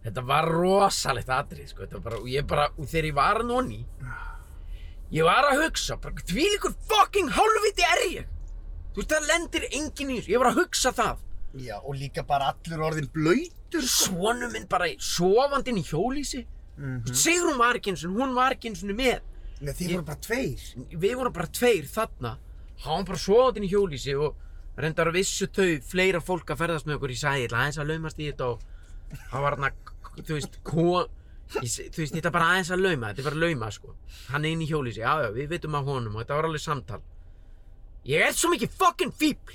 Þetta var rosalegt atrið, sko. Þetta var bara, og ég bara, og þegar ég var að nonni, ég var að hugsa, bara, því líkur fucking hálfviti er ég. Þú veist, það lendir enginn í þessu. Ég var að hugsa það. Já, og líka bara allur orðin blöytur. Svonu minn bara sofandi inn í hjólísi. Mm -hmm. Sigrun var ekki eins og hún var ekki eins og með. Nei, þið voru bara tveir. við vorum bara tveir þarna hann bara svoðin í hjólísi og reyndar að vissu þau fleira fólk að ferðast með okkur í sæl aðeins að laumast í þetta og hann var hann þú veist, kon, ég, se- þú veist þetta er bara aðeins að lauma þetta er bara að lauma sko hann er inn í hjólísi, já já, við veitum að honum og þetta var alveg samtal ég er svo mikið fucking fíbl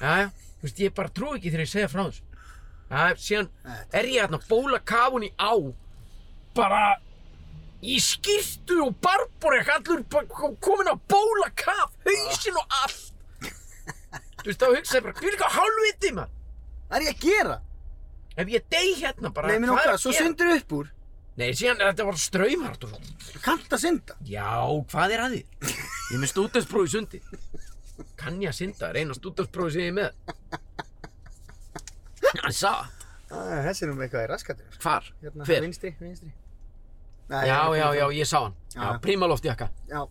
já já, þú veist, ég bara trúi ekki þegar ég segja frá þessu já, síðan er ég hérna að bóla kafun í á bara í skýrtu og barborek allur ba- kominn á bóla kaf hausinn og allt þú veist þá hugsaði ég bara hvílík á hálfviti maður Það er ég að gera. ef ég dey hérna bara Nei, minn hvað er okkar, að svo gera? syndur upp úr. nei síðan þetta var ströymhart og svo Þú kannt að synda. já hvað er að þið ég er með stúdensprófi sundi kann ég að synda er eina stúdensprófi sem ég er með hann sá Æ, Ah, þessi er nú með eitthvað í raskatir. hvar Hérna, hver vinstri, vinstri. Nei, já já já ég sá hann já, Já. prímaloft jakka Já,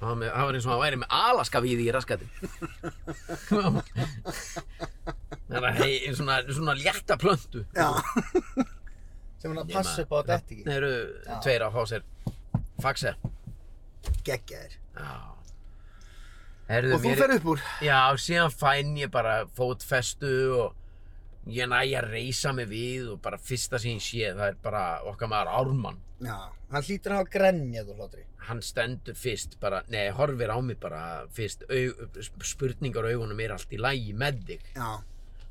Það var með- það var eins og hann væri með alaska víði í raskati. Það er hei, svona, svona létta plöntu. já. Sem hann að passa upp á þetta eftir ekki. Það eru tveir að fá sér faxa. Geggjaðir. Já. Herðu, Og þú fer upp úr. Já, síðan fæn ég bara fótfestu og ég næ að reysa mig við og bara fyrsta sem ég sé það er bara okkar maður Ármann Já, hann hlýtur að hafa grenjað úr hlátri. hann stendur fyrst bara, nei, horfir á mig bara fyrst, au, spurningar á augunum er allt í lægi með þig Já,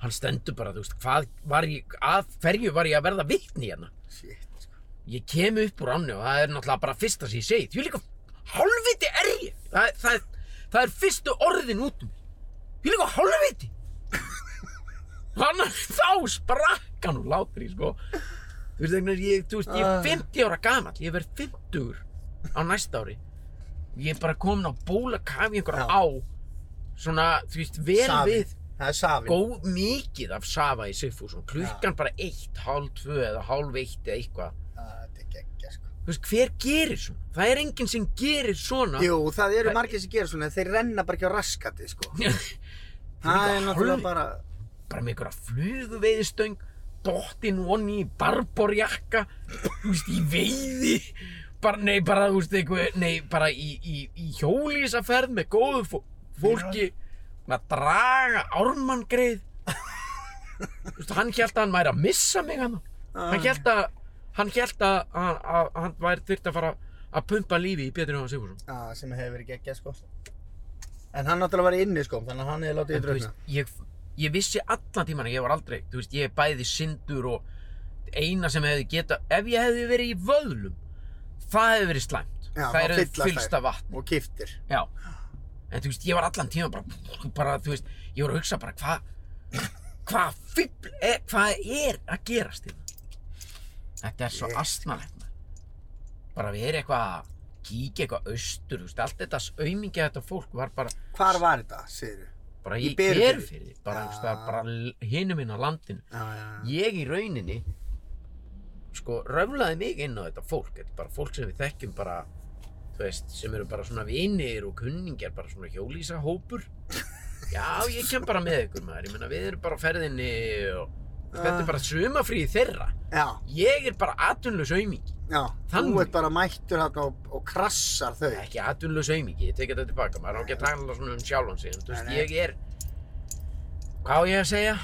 hann stendur bara, þú veist, hvað var ég að hverju var ég að verða vitni hérna shit, sko. ég kem upp úr ánni og það er náttúrulega bara fyrsta sem ég segi því líka hálfviti er ég það, það, það er fyrstu orðin út um mig því líka hálfviti hann þá sprakk hann úr látri sko þú veist þegar ég, þú veist, ég Ah. er 50 ára gamall ég verð 50 á næsta ári ég er bara komin á bólakafi einhverja Já. á svona, þú veist, vel Safi. við Það er safin. góð mikið af Safa í Sigfússon klukkan bara eitt, hálf tvö eða hálf eitt eða eitthvað Það er geggja, sko. Þú veist, hver gerir svona? Það er enginn sem gerir svona. Jú, það eru Það- margir sem gera svona, en þeir renna bara ekki á raskatið, sko. líka Það er hálf- náttúrulega bara, Bara með einhverja fluguveiðistöng, dottinn vonni í barborjakka, þú veist, í veiði, bara, nei, bara, þú veist, eitthvað, nei, bara í, í, í hjólísaferð með góðu fó fólki, með að draga ármanngreið. Þú veist, hann held að hann væri að missa mig hann. Ah. Hann held að, hann held að, að, að hann væri þurft að fara að pumpa lífi í Pétur Jóhann Sigursson. já, sem hefur verið geggja, sko. En hann náttúrulega var inni, sko, þannig að hann hefði látið En í þú veist, draugna. ég, ég vissi allan tíman að ég var aldrei, þú veist, ég er bæði syndur og eina sem hefði geta, ef ég hefði verið í vöðlum, það hefði verið slæmt. Já, það þá er fyllast fyllst þær. af vatni. Og kiftir. Já. En þú veist, ég var allan tíman bara, bara þú veist, ég var að hugsa bara hvað, hvað fíbl, er, hvað er að gerast þérna? Þetta er svo Shit. yeah. astnalegt maður. Bara við erum eitthvað að kíkja eitthvað austur, þú veist, allt þetta aumingi þetta fólk var bara, Hvar var þetta, segirðu? bara Í í Berufirði. Ah. berufyrði bara, Já. ja. það, bara l- hinum inn á landinu Já, já, já. ég í rauninni sko röflaði mig inn á þetta fólk þetta er bara fólk sem við þekkjum bara þú veist, sem eru bara svona vinir og kunningjar bara svona hjólísa hópur já, ég kem bara með ykkur maður ég meina, við erum bara á ferðinni og Ah. þetta er bara sumafríð þeirra Já, ég er bara atvinnlaus aumingi já. Þannig. Þú ert bara mættur þarna og, og krassar þau. ekki atvinnlaus aumingi, ég tek þetta tilbaka maður á ekki að tala svona um sjálfan sig en þú veist, Nei, nei. ég er hvað á ég að segja,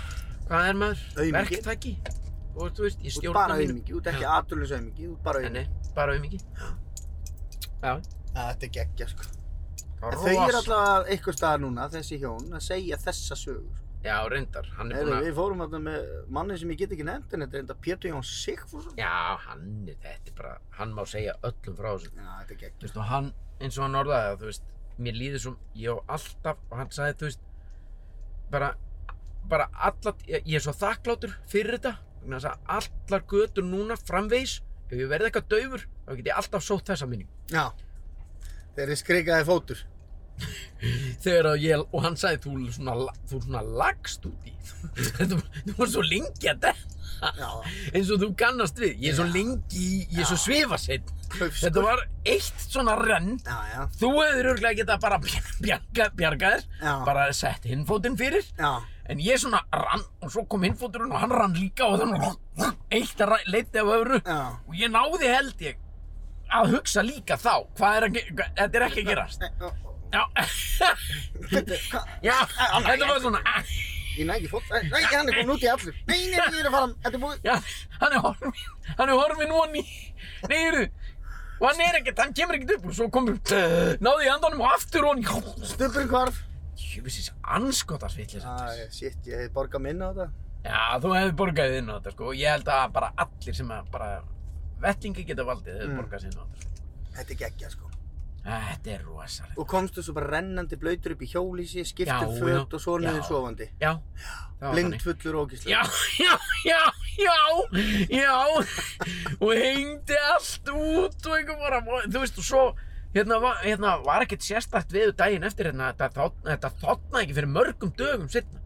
hvað er maður Aumingi. verktaki og þú veist, ég Þú ert stjórna bara auðmiki, þú ert ekki aturlis auðmiki, þú ert bara nei, auðmiki. nei, bara um aumingi já, Þetta er geggja, sko. það var En þau rosa eru alltaf einhver staðar núna, þessi hjón, að segja þessa sögur. já, reyndar, hann er Heru, búin að við fórum alltaf með manni sem ég get ekki nefnt en þetta er enda Pétur Jón Sigfússon. já, hann er þetta er bara, hann má segja öllum frá þessu Já, þetta er þú geggjur. veist, og hann, eins og hann orðaði það, þú veist, mér líður svo, ég á alltaf, og hann sagði, þú veist, bara, bara allat, ég, ég er svo þakklátur fyrir þetta, vegna þess að allar götur núna framvegis, ef ég verði eitthvað daufur, þá get ég alltaf sótt þessa minningu. Já, þeir eru skrikaði fótur. Þegar að ég, og hann sagði, þú svona, la- þú svona lagst út í, þú, þú var svo lengi að þetta, Já, eins og þú kannast við, ég er svo Já. Sko- lengi, í- ég er svo svifasinn, klaufskur. þetta var eitt svona renn, Já, já, Þú hefur örglega getað bara bjarga, bjarga þér, Já. bara sett hinn fótinn fyrir, já, en ég svona rann og svo kom hinn fóturinn og hann rann líka og þannig eitt að leita af öfru já. og ég náði held ég að hugsa líka þá, hvað er að gera, þetta er ekki að gerast. Nei, ó, ó, Já, Þetta, hvað? já, Á, nei, þetta var svona, Ég næ ekki fót. Nei, Nei, hann er komin út í allur. Nei, nei, ég er að fara. Þetta er búið. já, hann er horfinn, hann er horfinn og hann í, neyru, og hann er ekkert, hann kemur ekkert upp og svo komur, náði ég andanum og aftur og hann, Stubburinn hvarf. jöfisins anskotarsvillis þetta. Æ, shit, ég hef borgað minna á þetta. Já, þú hefði borgaðið inn á þetta sko og ég held að bara allir sem að bara vettlingi geta valdið hefði Mm. mm. borgað sér inn á þetta sko. Þetta er geggja, sko. Æ, Þetta er rosalegt. Og komstu svo bara rennandi blöytur upp í hjólísi, Já, skiptum já. föt og svo niður Já. sofandi. Já, það var þannig. Blindfullur og ógíslega. Já, já, já, já, já, og hengdi allt út og einhver bara, þú veist, og svo, hérna, var- hérna var ekkert sérstakt veður daginn eftir hérna, þetta, þ- þetta þotnaði ekki fyrir mörgum dögum setna.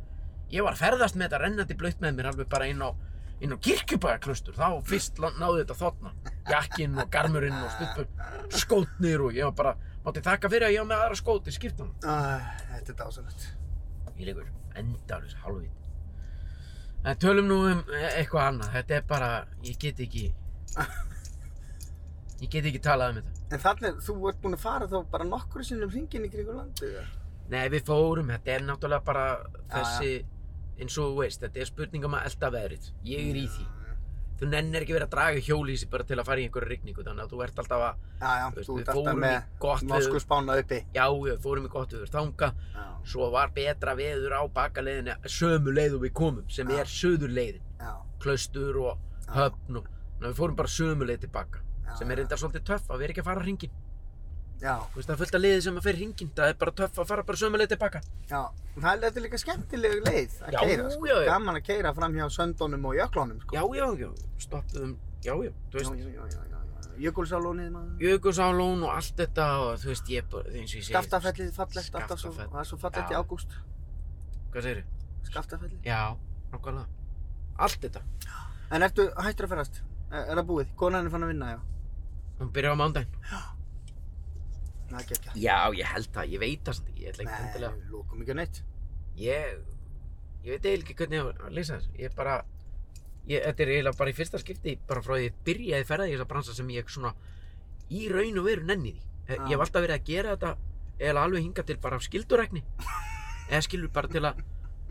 Ég var að ferðast með þetta rennandi blöytt með mér alveg bara inn á, inn á kirkjubæjarklustur, þá fyrst lá- náði þetta þotna, jakkinn og garmurinn og stuttur, skótnir og ég var bara, mátti þakka fyrir að ég var með aðra skóti, skiptan. Æ, þetta er dásalegt. Ég leikur endalus halvvit. En tölum nú um e- eitthvað annað. Þetta er bara, ég get ekki, ég get ekki talað um þetta. En þannig, þú ert búin að fara þá bara nokkur sinnum hringin í kringu landið, eða? Nei, við fórum, þetta er náttúrulega bara þessi eins og þú veist, þetta er spurning um að elda veðrið. Ég er í því. Þú nennir ekki verið að draga hjólísi bara til að fara í einhverju rigningu, þannig að þú ert alltaf að, Já, já, Þú veist, þú við ert alltaf fórum í gott með veður. norsku spána uppi. já, við fórum í gott viður þanga, Já, svo var betra veður á bakaleiðinni sömu leið og við komum, sem Já. er söðurleiðin, já, klaustur og Já. höfn og, þannig að við fórum bara sömu leið tilbaka, Já, sem já. er reyndar svolítið töff að við erum ekki að fara hringin. já, Þú veist, það er fullt af liðið sem að fer hringin, það er bara töff að fara bara sömu leið tilbaka. já. Það er þetta er líka skemmtilegu leið að Já, keira, sko. já, já. Gaman að keira fram hjá söndunum og jöklunum, sko. Já, já, já, stoppuðum, já, já, þú já, veist, já, já, já, já, já. Jökulsálónið, maður. Jökulsálón og allt þetta og þú veist, ég er bara, eins og ég segi. Skaftafellið fallegt, alltaf svo, Skaftafell. það er svo fallegt Já. í ágúst. Hvað segirðu? Skaftafellið. Já, nákvæmlega. Allt þetta. En ertu hættur að ferast? Er er það búið? Konan er fann að vinna, já. Hún byrjar á mándaginn. Það er ekki ekki. Já, ég held það, ég veit það samt, ég ætla ekki Nei, endilega. við lókum ekki á neitt. Ég, ég veit eiginlega ekki hvernig ég á að lýsa þessu. Ég er bara, ég, þetta er eiginlega bara í fyrsta skipti, bara frá því ég byrjaði ferðið í þessa bransa sem ég svona í raun og veru nenni því. Ég, Já. ég hef alltaf verið að gera þetta eða alveg hinga til bara af skildurækni. Eða skilur bara til að,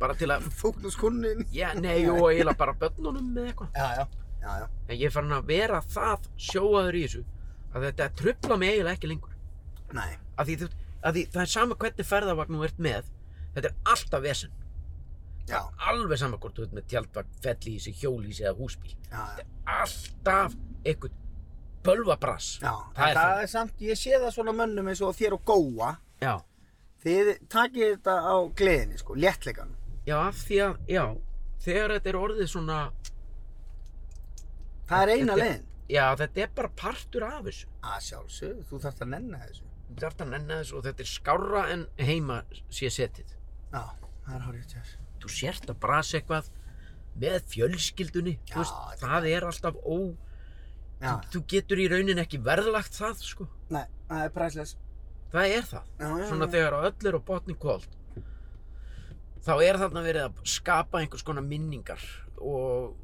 bara til að, Fóknuskunnin. já, nei, jú, og eiginlega bara börnunum með eitthvað. Já, já. Já, já. En ég er farin að vera það sjóaður í þessu að þetta trubla mig eiginlega ekki lengur. Nei. Af því, þú, af því það er sama hvernig ferðavagn þú ert með, þetta er alltaf vesen. Já, Alveg sama hvort þú ert með tjaldvagn, fellísi, hjólísi eða húsbíl. já, já. Alltaf einhvern bölvabrass. Já, það er það það. er samt, ég sé það svona mönnum eins og þér og góa. Já, Þið takið þetta á gleðinni, sko, léttleikanum. já, af því að, já, þegar þetta er orðið svona, Það er eina Þetta- leiðin. já, þetta er bara partur af þessu. Að sjálfsög, þú þarft að nenna þessu. Þú þarft að nenni þessu og þetta er skárra en heima sé setið. Já, það er hárið þér. þú sért að brasa eitthvað með fjölskyldunni Já, þú veist, þetta- það er alltaf ó Já, þú getur í raunin ekki verðlagt það sko. nei, það er præsles. það er það Já, já, svona já. þegar á öll er og botni kvöld þá er þarna verið að skapa einhvers konar minningar og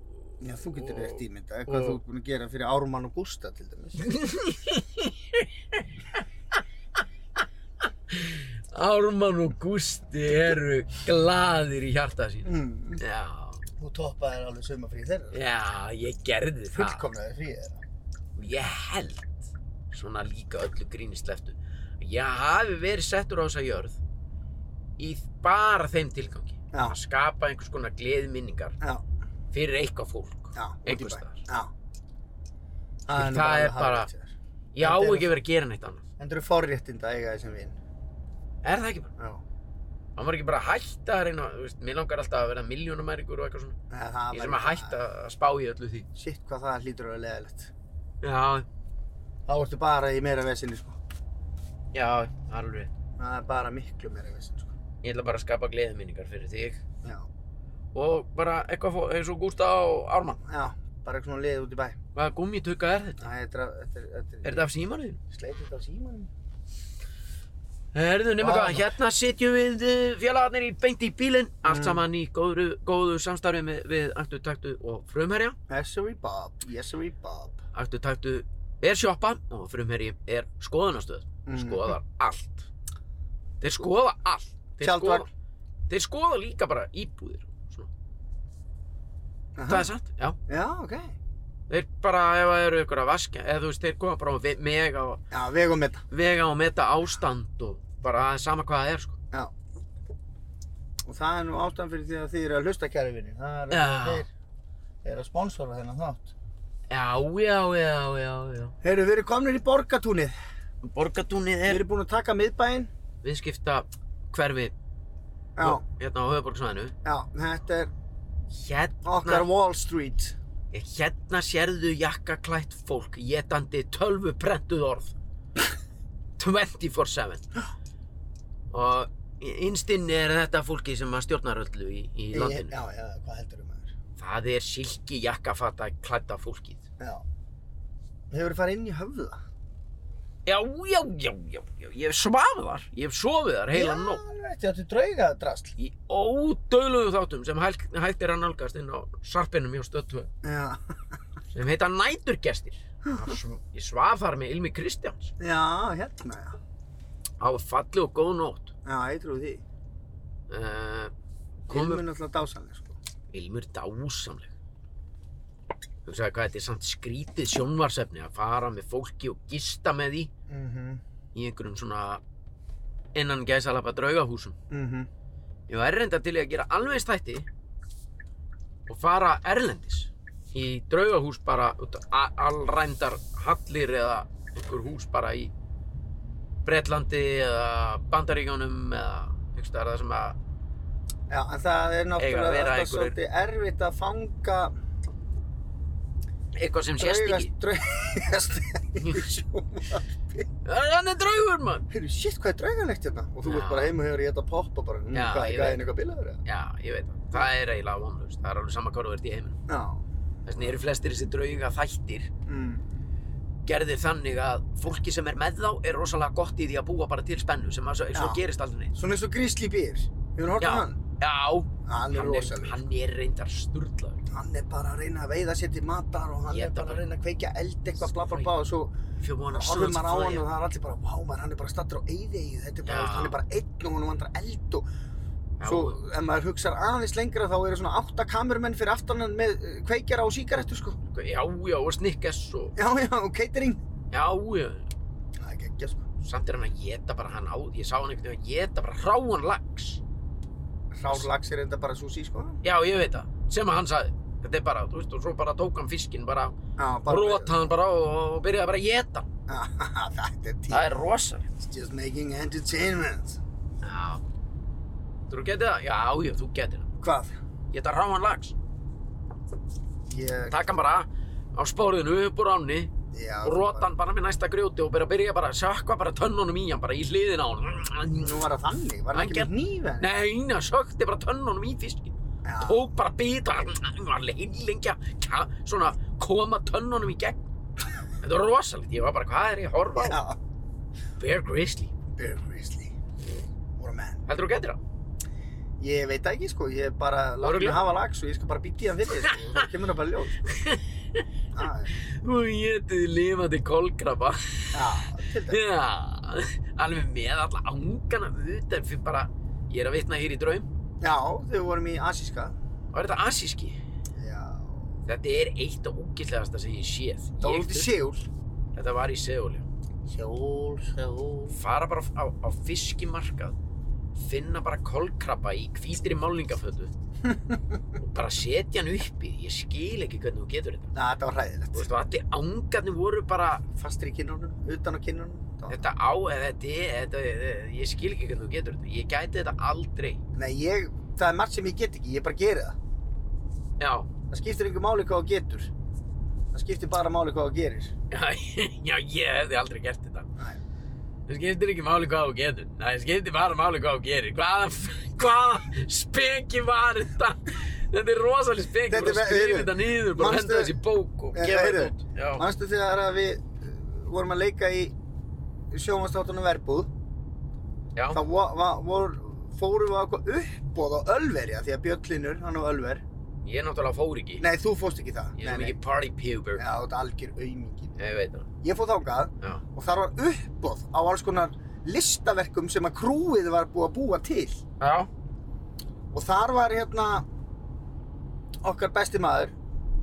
Já, þú getur og- rétt ímynda, eitthvað og- þú ert búin að gera fyrir Árumann og Gústa til dæmis. Ármann og Gústi eru glaðir í hjarta sín Mm. já, Þú toppaðir alveg sömafrí þeirra. já, ég gerði það Fullkomnaði frí þeirra. og ég held svona líka öllu gríni sleftu að ég hafi verið settur á þessa jörð í bara þeim tilgangi Já. að skapa einhvers konar gleðminningar Já, fyrir eitthvað fólk já. út í Einhvers bæ. staðar. Já. Það nú er alveg bara- hárrétt hjá þér. ég á Þetta er- ekki verið að gera neitt annað En þú eru forréttind að eiga þessum vinn. er það ekki bara, Já. hann var ekki bara að hætta að reyna, þú veist, mér langar alltaf að vera miljónumæringur og eitthvað svona, Nei, það ég væri sem að bara- hætta að spá í öllu því Sitt hvað það hlýtur að vera leðilegt. já, Þá ertu bara í meira vesinni sko. já, alveg rétt. Það er bara miklu meira vesinni sko. ég ætla bara að skapa gleðminningar fyrir þig Já. og bara eitthvað fó- eins og Gústa og Ármann Já. Bara eitthvað svona leið út í bæ. hvaða gummitöka er þetta? Það er þetta, þetta er, þetta er þetta af símanuðinu? Sleitið á símanum. Herðu, nema Vá. hvað, hérna sitjum við eh, félagarnir í beint í bílinn, allt Mm. saman í góðru, góðu samstarfi með, við Aktu Taktu og Frumherja. Yesery Bob. Yesery Bob. Aktu Taktu er sjoppa og Frumherji er skoðunastöð, Mm. skoðar allt. Þeir skoða allt. Þeir Tjaldvagn. skoða, þeir skoða líka bara íbúðir. Svona. Aha. Það er satt, já. Já, ok. Þeir bara, ef það eru ykkur að vaskja, eða þú veist, þeir koma bara á ve- mega, Já, vegum þetta. vega og meta ástand og bara það er sama hvað það er, sko. Já. Og það er nú ástæðan fyrir því að þið eru að hlusta kæri vinni. Það er Já. þeir, þeir eru að sponsora þennan þátt. Já, já, já, já, já. Heyrðu, við erum komnir í borgatúnið. Borgatúnið Við er erum búin að taka miðbæinn. viðskipta hverfi Já, hérna á höfuborgsvæðinu já, þetta er okkar hérna, Wall Street. hérna sérðu jakkaklætt fólk getandi tölvu prentuð orð 24-7 og innstinni er þetta fólki sem að stjórnar öllu í, í landinu Já, já, hvað heldur um aður? það er silki jakkafata klætta fólkið Já. Hefur farið inn í höfða? já, já, já, já, já ég hef svafið þar ég hef sofið þar heila já, nótt Já, þetta er draugadrasl. í ódöðluðu þáttum sem hægt, hægt er að nálgast inn á sarpinum hjá stöttu Já, sem heita Næturgestir. Þar sv- Ég svaf þar með Ilmi Kristjáns. já, hérna, já. Það var falli og góð nótt. Já, ég trúi því. Uh, komum- Ilmur náttúrulega dásanlega sko. Ilmur dásamleg. Hugsaði hvað þetta er samt skrítið sjónvarsefni að fara með fólki og gista með því Mm -hmm. í einhverjum svona innan gæsalappa draugahúsum. mhm. Ég var reynda til í að gera alveg eins þætti og fara erlendis í draugahús bara út á allrændar hallir eða einhver hús bara í Bretlandi eða Bandaríkjónum eða einhvers staðar þar sem að Já, en það er Eiga að náttúrulega vera alltaf einhverjir- svolítið erfitt að fanga eitthvað sem sést ekki. draugast í sjónvarpi. Hann er draugur mann! Heyrðu, shit, hvað er draugalegt hérna? Og þú Já. ert bara heim og hefur ég þetta poppa bara, hm, Já, ég hvað er veit. gæðin eitthvað bilaður eða? Já, ég veit það. Það er eiginlega vonlust. Það er alveg sama hvað þú ert í heiminum. Já. Þess vegna eru flestir þessi drauga þættir Mm. gerðir þannig að fólki sem er með þá er rosalega gott í því að búa bara til spennu sem að svo, svo Já. gerist aldrei neitt. Svona eins og Grizzly Bear, hefur hann hort Já. á hann? Já, Hann er hann er, rosaleg. hann er reyndar sturlaður. Hann er bara að reyna að veiða sér til matar og hann Éta er bara bara. að reyna að kveikja eld eitthvað bla bla Sorry. bla og svo Fjóðum hann að horfir maður á hann og það er allir bara vá maður, hann er bara stattur á eyði eyði þetta er bara, Já. hann er bara einn og hann vandrar eld og Já. svo ef maður hugsar aðeins lengra þá eru svona átta kamerumenn fyrir aftan hann með eh, kveikjara og sígarettu sko Já, já, og snikkes og... já já og catering Já, já. það er geggja sko Samt er hann að geta bara hann á... Ég sá hann einhvern veginn að geta bara hráan lax. hrár lax er enda bara sushi sko Já, ég veit það. Sem að hann sagði. Þetta er bara, þú veist, og svo bara tók hann fiskinn bara, já bara rótaði hann bara og, og byrjaði bara að geta. hann. þetta er Það tíma er rosalegt. it's just making entertainment Já. Þú getið það? Já, já, þú getið það. hvað Ég ætla að ráða hann lags. ég Takk hann bara á spóriðinu upp úr áni já og rota hann bara með næsta grjóti og byrja að byrja bara að sökva bara tönnunum í hann, bara í hliðin á hann. nú var það þannig var hann Hann ekki með nýfið Nei, neina, sökti bara tönnunum í fiskin. Tók bara bita, var leilengja, svona koma tönnunum í gegn. Þetta var rosalegt, ég var bara, hvað er ég að horfa á? já Bear Grizzly. Bear Grizzly what a man Heldur þú getur það? Ég veit það ekki sko, ég er bara látt mig Örugglega. hafa lags og ég skal bara býta í hann fyrir þér, sko, og það kemur það bara í ljós sko. Það er- Þú getið lifandi kolkrabba. Já, til dæmis. Já, alveg með alla angana utan fyrir bara, ég er að vitna hér í draum. Já, þau vorum í asíska. Og er þetta asíski? Já, Þetta er eitt og ógillegasta sem ég séð. Ég dóldi þurfti- sjól. Þetta var í Seúl, já. Sjól, sjól. Fara bara á, á fiskimarkað, finna bara kolkrabba í hvítri málningafötu og bara setja hann upp í. því. Ég skil ekki hvernig þú getur þetta. Na, þetta var hræðilegt. Þú veist, og allir angarnir voru bara, Fastur í kinnunum, utan á kinnunum. Það var- þetta á, eða þetta er, þetta er, ég skil ekki hvernig þú getur þetta. Ég gæti þetta aldrei. Nei, ég, það er margt sem ég get ekki, ég bara geri það. Já, Það skiptir yngur máli hvað þú getur. Það skiptir bara máli hvað þú gerir. Já, já, ég hefði aldrei gert þetta. Nei. Það skiptir ekki máli hvað þú getur. Nei, það skiptir bara máli hvað þú gerir. Hvaða, hvaða speki var þetta? Þetta er rosalega speki, Þetta er bara ve- skrifa heyrðu, þetta niður, bara manstu- henda þessi bók og Eh, gefa heyrðu, þetta út. Já, Manstu þegar að við uh, vorum að leika í sjómanstáttunum verbúð? já, þá va- va- vor- fórum við á eitthvað uppboð á Ölverja því að Björn Linur, hann á Ölver ég náttúrulega fór ekki. Nei, þú fórst ekki það Ég Nei, er svo nei. mikið party puber. Já, þetta er algjör aumingi Ég veit það. Ég fór þákað Já, og þar var uppboð á alls konar listaverkum sem að krúið var búið að búa til já, og þar var hérna okkar besti maður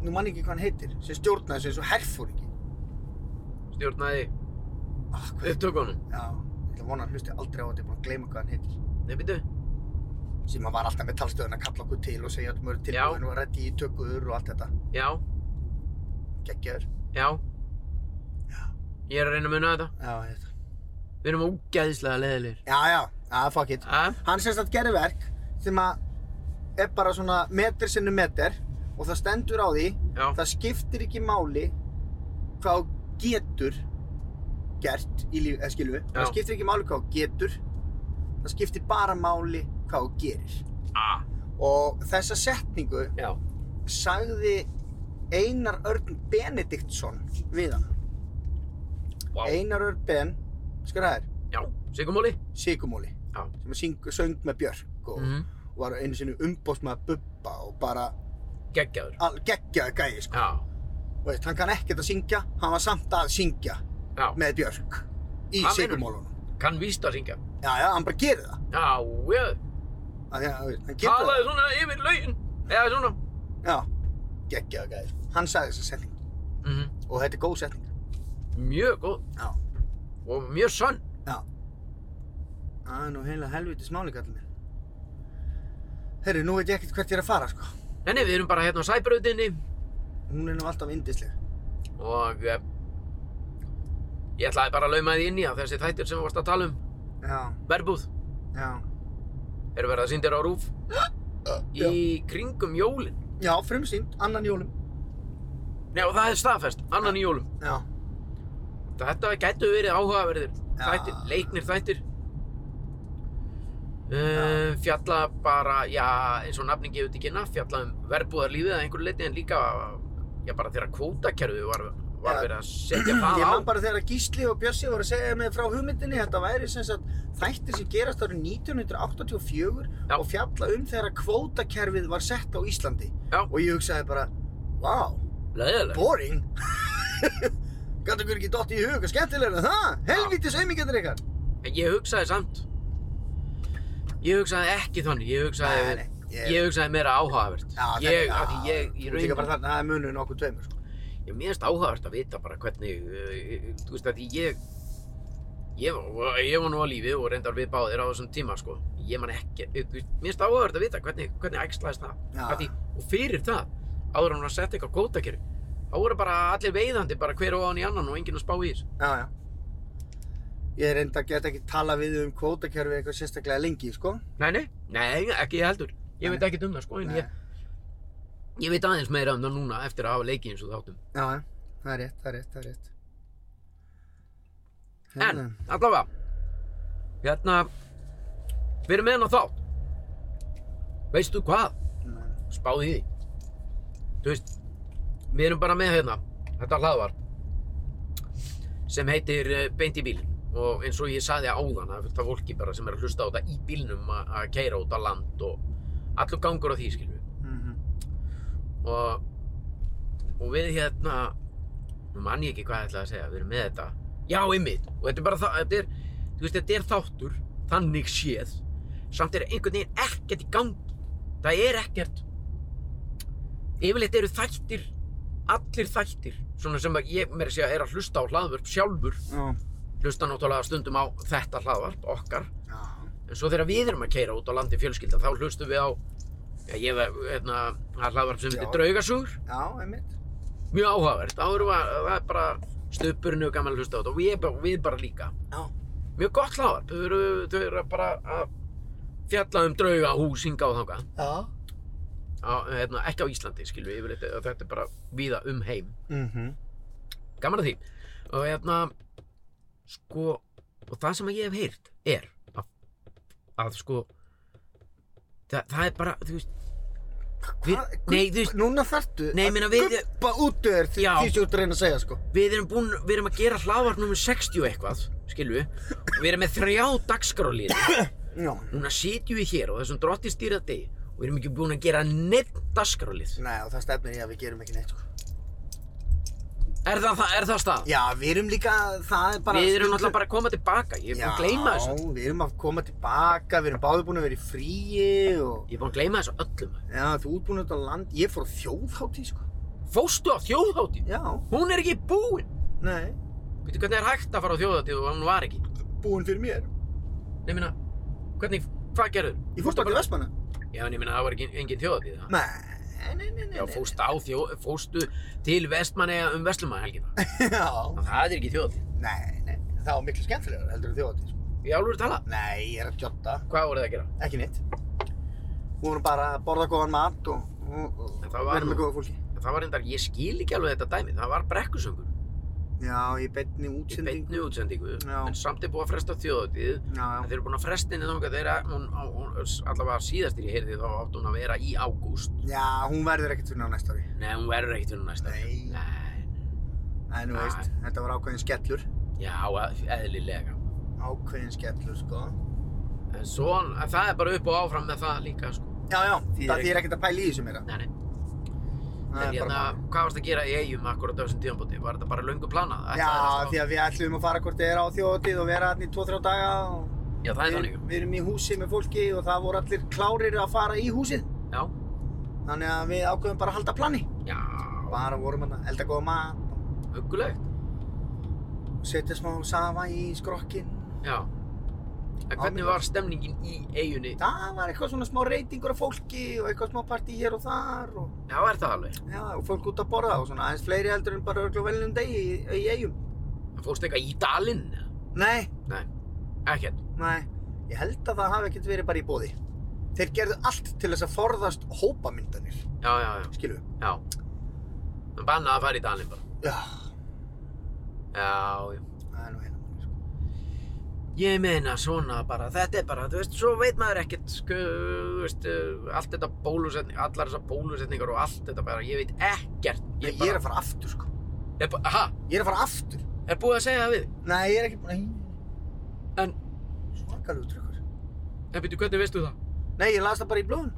nú mann ekki hvað hann heitir sem stjórnaði þessu eins og herfóringi stjórnaði ah, hvað- upptökunum. Já, ég ætla að vona að hann hlusti aldrei á þetta ég er búin að gleyma hvað hann heitir Nei, býttu. sem að var alltaf með talstöðun að kalla okkur til og segja öllum öru Já. tilbúin og reddi í tökur og allt þetta Já, geggjaður já. Ég er að reyna að muna þetta. Já, ég veit það. Við erum ógæðislega leðilegir. Já, já, já, fuck it. Hæ? Hann semst að gerir verk sem að er bara svona metr sinnum metr og það stendur á því, Já, það skiptir ekki máli hvað þú getur gert í lífi, eða skilju, Já. það skiptir ekki máli hvað þú getur, það skiptir bara máli hvað þú gerir. ah, Og þessa setningu já. sagði Einar Örn Benediktsson við hann. Vá. Einar Örn Ben, skur það er, Já, Sigurmóli? Sigumóli, Já. Mhm. sem að syng, söng með Björk og var einu sinni umbóðsmaður Bubba og bara Geggjaður. all- geggjaði gæði sko. Já, Þú Veist, hann kann ekkert að syngja, hann var samt að syngja já. með Björk Hvað í meinarðu? sigurmólunum. Kann víst að syngja. Já, já, hann bara gerir það. Já, já. Af því að, þú veist, hann getur Talaði svona yfir laugin Eða svona Já, geggjaða gæðir. Hann sagði þessa setning mm og þetta er góð setning. Mjög góð Já, Og mjög sönn já. Það er nú heila helviti smáli kallið minn. Herri, nú veit ég ekkert hvert ég er að fara, sko. Nei, nei, við erum bara hérna á sæbrautinni Hún er nú alltaf indisleg. Og eh, Ég ætlaði bara að lauma því inn í að þessi þættir sem við varst að tala um Já, Verbúð já. Eru verið að sýndir á rúf Í kringum jólin Já, frumsýnd, annan í jólum. Nei, og það er staðfest, annan í jólum Já, Þetta gætu verið áhugaverðir Já. þættir, leiknir þættir uh, Fjalla bara, já, eins og nafnin gefur til kynna Fjalla um verbúðarlífið að einhverju leiti En líka, já, bara þegar kvótakerfið var, var Já. verið að setja ég það á man bara þegar Gísli og Bjössi voru að segja mig frá hugmyndinni þetta væri sem sagt þættir sem gerast árið 1984 Já. og fjalla um þegar kvótakerfið var sett á Íslandi Já. og ég hugsaði bara, wow, Leðilega boring Gat okkur ekki dotti í hug og skemmtilega það, helvítis auðmingjandir ykkar En ég hugsaði samt Ég hugsaði ekki þannig, ég hugsaði Nei, nei, Ég, ég- hugsaði meira áhugavert Já, þetta- Ég, já, af því ég, þú ég tekur bara þarna, það er munurinn okkur tveimur sko. Ég miðast áhugavert að vita bara hvernig, eh, þú veist að ég, ég, var- ég var nú á lífi og reyndar við báðir á þessum tíma sko. Ég man ekki, eh, þú veist, miðast áhugavert að vita hvernig, hvernig æxlaðist það. Já. Af Því, og fyrir það, áður en hann var að setja eitthvað kvótakeri, þá voru bara allir veiðandi bara hver ofan í annan og enginn að spá í þessu. Já, já Ég reynda að geta ekki tala við um kvótakerfið eitthvað sérstaklega lengi, sko Nei, nei, nei, ekki ég heldur. Ég Nei. veit ekkert um það sko, en ég, ég veit aðeins meira um það núna eftir að hafa leikið eins og þáttum. Já, já, það er rétt, það er rétt, það er rétt. En, allavega, hérna, við erum með hennar þátt. Veistu hvað? Nei. spáði í því þú veist, við erum bara með hérna þetta hlaðvar sem heitir eh, Beint í bílinn og eins og ég saði áðan að þetta fólki bara sem er að hlusta á þetta í bílnum að að keyra út á land og allur gangur á því skilju Mhm. og, og við hérna nú man ég ekki hvað ég ætlaði að segja við erum með þetta, já ymmið og þetta er bara það, þetta er, þú veist, þetta er þáttur þannig séð samt er einhvern veginn ekkert í gangi það er ekkert yfirleitt eru þættir allir þættir svona sem að ég meira að segja er að hlusta á hlaðvörp sjálfur Já. hlusta náttúrulega stundum á þetta hlaðvarp okkar Já. En svo þegar við erum að keira út á landi fjölskylda, þá hlustum við á, já, ég var, hérna, það hlaðvarp sem heitir Já. Draugasugur, Já, einmitt. mjög áhugavert, þá erum við, að- það er bara stuppurinn og gaman að hlusta á þetta og við, bara- við bara líka. Já. Mjög gott hlaðvarp, þau eru, þau eru bara að fjalla um drauga hús hinga og þangað, Já. á, hérna, ekki á Íslandi, skilum við, yfirleitt, og þetta er bara víða um heim. Mhm. Gaman að því. Og hérna, sko, og það sem ég hef heyrt er að, að sko, það, það er bara, þú veist, Við- Hvað- nei, þú veist- Núna þarftu Nei, ég meina, við- guppa út úr þér því Já. því sem þú ert að reyna að segja, sko. við erum búin, við erum að gera hlaðvarp nummer 60 eitthvað, skilju og við erum með þrjá dagskrálínu Já. núna sitjum við hér og þessum drotti stýra degi og við erum ekki búin að gera neitt dagskrálið Nei, og það stefnir í að við gerum ekki neitt, sko. er það, það, er það stað? Já, við erum líka, það er bara... við erum náttúrulega bara að koma tilbaka ég er búin að gleyma þessu Já, við erum að koma tilbaka, við erum báðir búin að vera í fríi og... ég er búin að gleyma þessu öllum Já, þú ert búin út á land, ég fór á þjóðhátíð, sko. fóstu á þjóðháttið? Já, hún er ekki búin nei, veitu hvernig er hægt að fara á þjóðháttið og hún var ekki búin fyrir mér. Nei, minna, hvernig, hvað gerður? Ég fórst bara í Vestmanna. Já, en ég minna, það var ekki, engin þjóðháttið það Nei, nei, nei, nei. Já, nei. fóstu á þjó, fóstu til vestmanneja um vestlumahelgina Já. Það er ekki þjóðatíð. Nei, nei, það var miklu skemmtilegur heldur en þjóðatíð. sko. Í alvöru tala. Nei, ég er að jotta, Hvað voru það að gera? ekki neitt. Við vorum bara að borða góðan mat og, og, og En það var vera með nú- góða fólki. Það var reyndar, ég skil ekki alveg þetta dæmi. Það var brekkusöngur. Já, ég beinni Í útsendingu. beinni útsendingu. Já. En samt er búið að fresta þjóðatíð. Já, En já, þeir eru búin að fresta henni þangað þeirra, hún, hún, hún, allavega síðastir ég heyrði þá átt hún að vera í ágúst. já, hún verður ekkert fyrir ná næsta ári. Nei, hún verður ekkert fyrir næsta. ári. Nei. Nei. En þú Nei. veist, þetta var ákveðin skellur. Já, að- eðlilega. Ákveðin skellur, sko. En svo, að það er bara upp og áfram með það líka, sko. Já, já, Þýðir það þýðir ekkert að pæla í þessu meira. Nei, nei. Það En er bara hérna, málið. hvað varst að gera í eigum akkurat á þessum tíðanbóti? Var þetta bara löngu planað? Já, því að við ætlum að fara hvort þið er á þjóðatíð og vera hann í 2-3 daga og Já, það er Við, þannig. við erum í húsi með fólki og það voru allir klárir að fara í húsið. Já. Þannig að við ákveðum bara að halda plani. Já. Bara vorum hérna að elda góða mat Huggulegt. og setja smá safa í skrokkinn. Já. En hvernig var stemningin í eigunni? Það var eitthvað svona smá reytingur af fólki og eitthvað smá partí hér og þar og, Já, er það alveg? já, og fólk út að borða og svona aðeins fleiri heldur en bara örglu velnum degi í, í eigum. En Fórstu eitthvað í dalinn? Nei, Nei. Ekkert. nei, ég held að það hafi ekkert verið bara í bóði. Þeir gerðu allt til þess að forðast hópamyndanir, Já, já, já. skilu. Já. En bannað að fara í dalinn bara. Já, Já, já. það er nú hérna máli, sko. Ég meina svona bara, þetta er bara, þú veist, svo veit maður ekkert, sko, þú veist, uh, allt þetta bólusetning, allar þessar bólusetningar og allt þetta bara, ég veit ekkert. Ég, bara, er að fara aftur, sko. er bara, ha, Ég er að fara aftur. er búið að segja það við? þig? Nei, ég er ekki búin að... En- Svakalegu trökkur. En byrju, hvernig veistu það? Nei, ég las það bara í blóðun.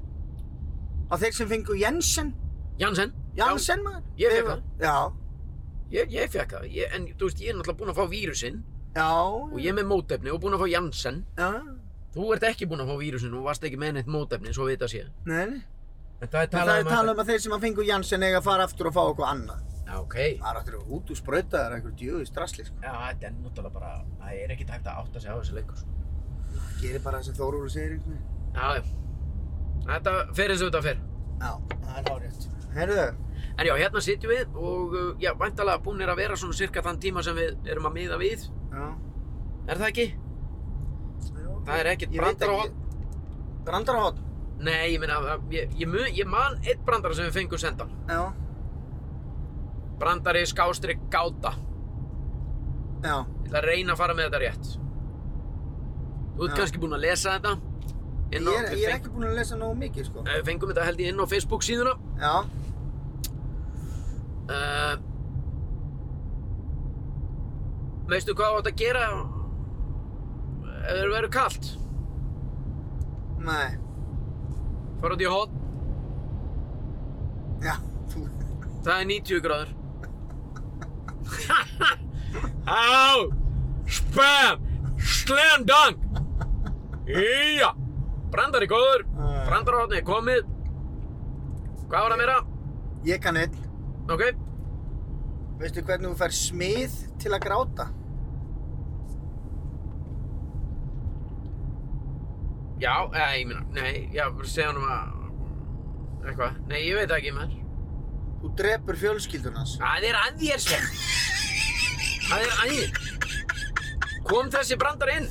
Að þeir sem fengu Jensen, Janssen? Jansen maður. ég þeir fékk var- Já, Ég, ég fekk það, ég, en þú veist, ég er náttúrulega búinn að fá vírusinn já. og ég er með mótefni og búinn að fá Janssen. Já, Þú ert ekki búinn að fá vírusinn og varst ekki með neitt mótefni, svo vita sé. nei, nei. En það er Það talað er um talað um að þeir sem að fengu Janssen eiga að fara aftur og fá okkur annað. Já, ok. Það er aftur út úr sprautaðar einhver djöðu strasli, sko. Já, þetta er náttúrulega bara, það er ekkert hægt að átta sig á þessu leikur. sko. Það gerir bara það sem Þórúlu segir einhvern veginn. Já, já. Þetta fer eins og þetta fer. Já, það er hárétt. Herðu, En já, hérna sitjum við og uh, já, væntalega búnir að vera svona cirka þann tíma sem við erum að miða við. já. Er það ekki? Það er ekkert brandara á hotn. Brandarahotn? Nei, ég meina, uh, ég, ég, mun, ég man eitt brandara sem við fengum sendan. Já. Brandari skástrík gáta. Já. Ég ætla að reyna að fara með þetta rétt. Þú ert Já. kannski búinn að lesa þetta. Ég Inn á, er, við ég er feng- ekki búinn að lesa nógu mikið, sko. eh, Við fengum þetta held ég inn á Facebook síðuna. Já. Uh, veistu hvað þú átt að gera ef það verður kalt? Nei. Fara út í hot, Já. Þú... það er 90 gráður. Á, spam, slam dunk. Íja, brandari góður, Æ. brandarhóttni er komið. Hvað var það meira? Ég kann einn. Ok, Veistu hvernig þú fær smið til að gráta? já, eða, ég meina, nei, já, segja honum að, eitthvað, nei, ég veit það ekki maður. Þú drepur fjölskyldunans. Það er að þér sem Það er að þér Kom þessi brandar inn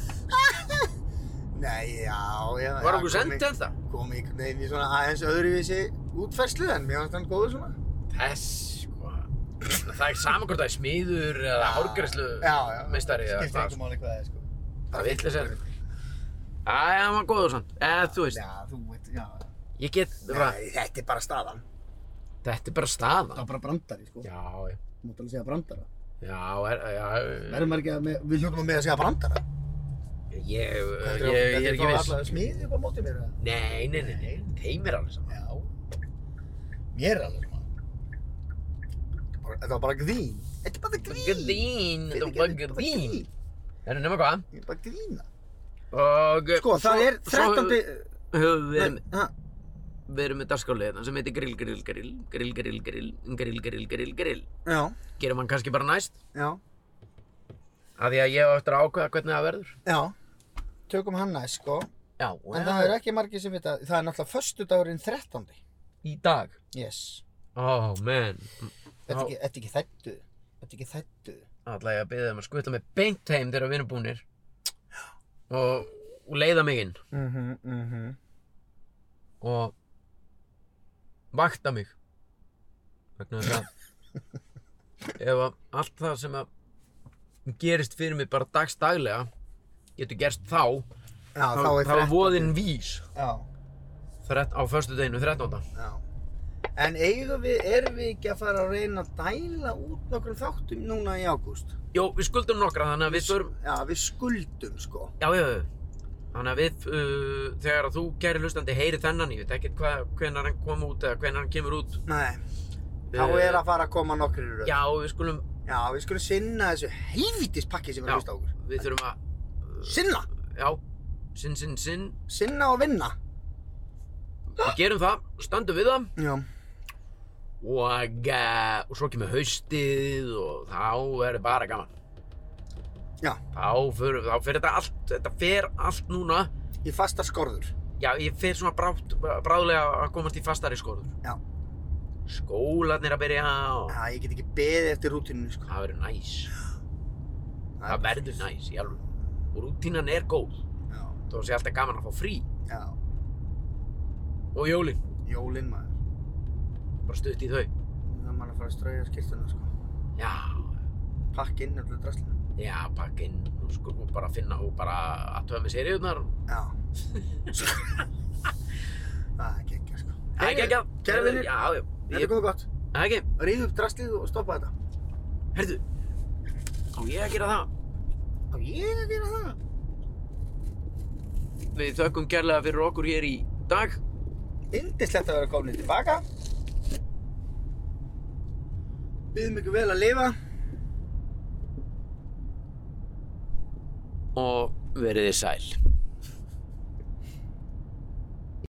Nei, já, Var já. já, okkur kom sendið í- þetta kom einhvern veginn í svona aðeins öðruvísi útferðslu en mér fannst hann góður svona. Þess sko Það er saman hvort það er smiður eða hárgræslu meistari eða skiptir hvað einhver máli hvað það er sko. Það vitleys er Það er maður góður samt Eða þú veist Já, þú veit, já. Ég get bara Nei, þetta er bara staðan. Þetta er bara Það staðan var bara brandari sko. Já já. Þú mátt alveg segja brandara. Já er, já Verðum maður ekki að, með, við hljóttum að með að segja brandara. Ég Ég ég er ekki viss Það er smiðið upp á móti mér eða? Nei, nei, nei, nei, þeim er alveg saman. Já. Mér er alveg svona. Þetta er bara- Þetta var bara grín. Þetta er bara grín. Grín, Fyrirgefðu, þetta var bara grín. Það er nema hvað. Ég er bara grína. Og... Sko, það svo- er svo 13. höfum við verið, Nei, ha, við erum með dagskálið hérna sem heitir grill, grill, grill, grill, grill, grill, grill, grill, grill, grill. Já, Gerum hann kannski bara næst, já, af því að ég á eftir að ákveða hvernig það verður. já. Tökum hann næst sko. Já, En það er ekki margir sem vita, það er náttúrulega föstudagurinn 13. í dag. Yes. Oh, man. Þetta Já. er ekki, þetta er ekki þættu. Þetta er ekki þættu. Alla ég að byrja þeim að skutla mig beint heim þegar við erum búnir og, og leiða mig inn Mhm, mhm. og vakta mig. Vegna þess að ef að allt það sem að gerist fyrir mig bara dagstaglega getur gerst þá, Já, þá, þá er þá er 13. voðinn vís Já, þrett, á förstu deginu 13. já. En eigum við, erum við ekki að fara að reyna að dæla út nokkrum þáttum núna í ágúst? Jó, við skuldum nokkra þannig að við förum Já, við skuldum sko. Já, já, já Þannig að við, uh, þegar að þú kæri hlustandi heyri þennan, ég veit ekkert hvað, hvenar hann kom út eða hvenar hann kemur út Nei, þá Eh, er að fara að koma nokkrir í röð. Já, við skulum, Já, við skulum sinna þessu helvítis pakki sem er Já. að hlusta á okkur. við þurfum að, Sinna! já, sinn, sinn, sinn. Sinna og vinna. Við gerum það, stöndum við það Já. og, uh, og svo kemur haustið og þá er bara gaman. Já. Þá fyrir, þá fyrir þetta allt, þetta fer allt núna. Í fasta skorður. Já, ég fer svona brátt, bráðlega að komast í fastari skorður. Já. Skólarnir að byrja og Já, ég get ekki beðið eftir rútinu, sko. það verður næs. Það verður næs, ég alveg. Og rútínan er góð. Já, Þó sé alltaf gaman að fá frí. já. Og jólin, Jólinn, maður. bara stutt í þau. Það er maður að fara að strauja skýrtuna, sko. Já, Pakk inn öllu drasla. já, pakka inn og sko og bara finna og bara aðtöða með seriðunar. Já. Það er geggja, sko. Það er ekki ekki að... Kæra vinir. Já, já. Þetta er Ég, komið gott. það er ekki. Ríðu upp draslið og stoppa þetta. Herðu, á ég að gera það? Á ég að gera það? Við þökkum kærlega fyrir okkur hér í dag. Indislegt að vera komin tilbaka. Býðum ykkur vel að lifa. Og veriði sæl.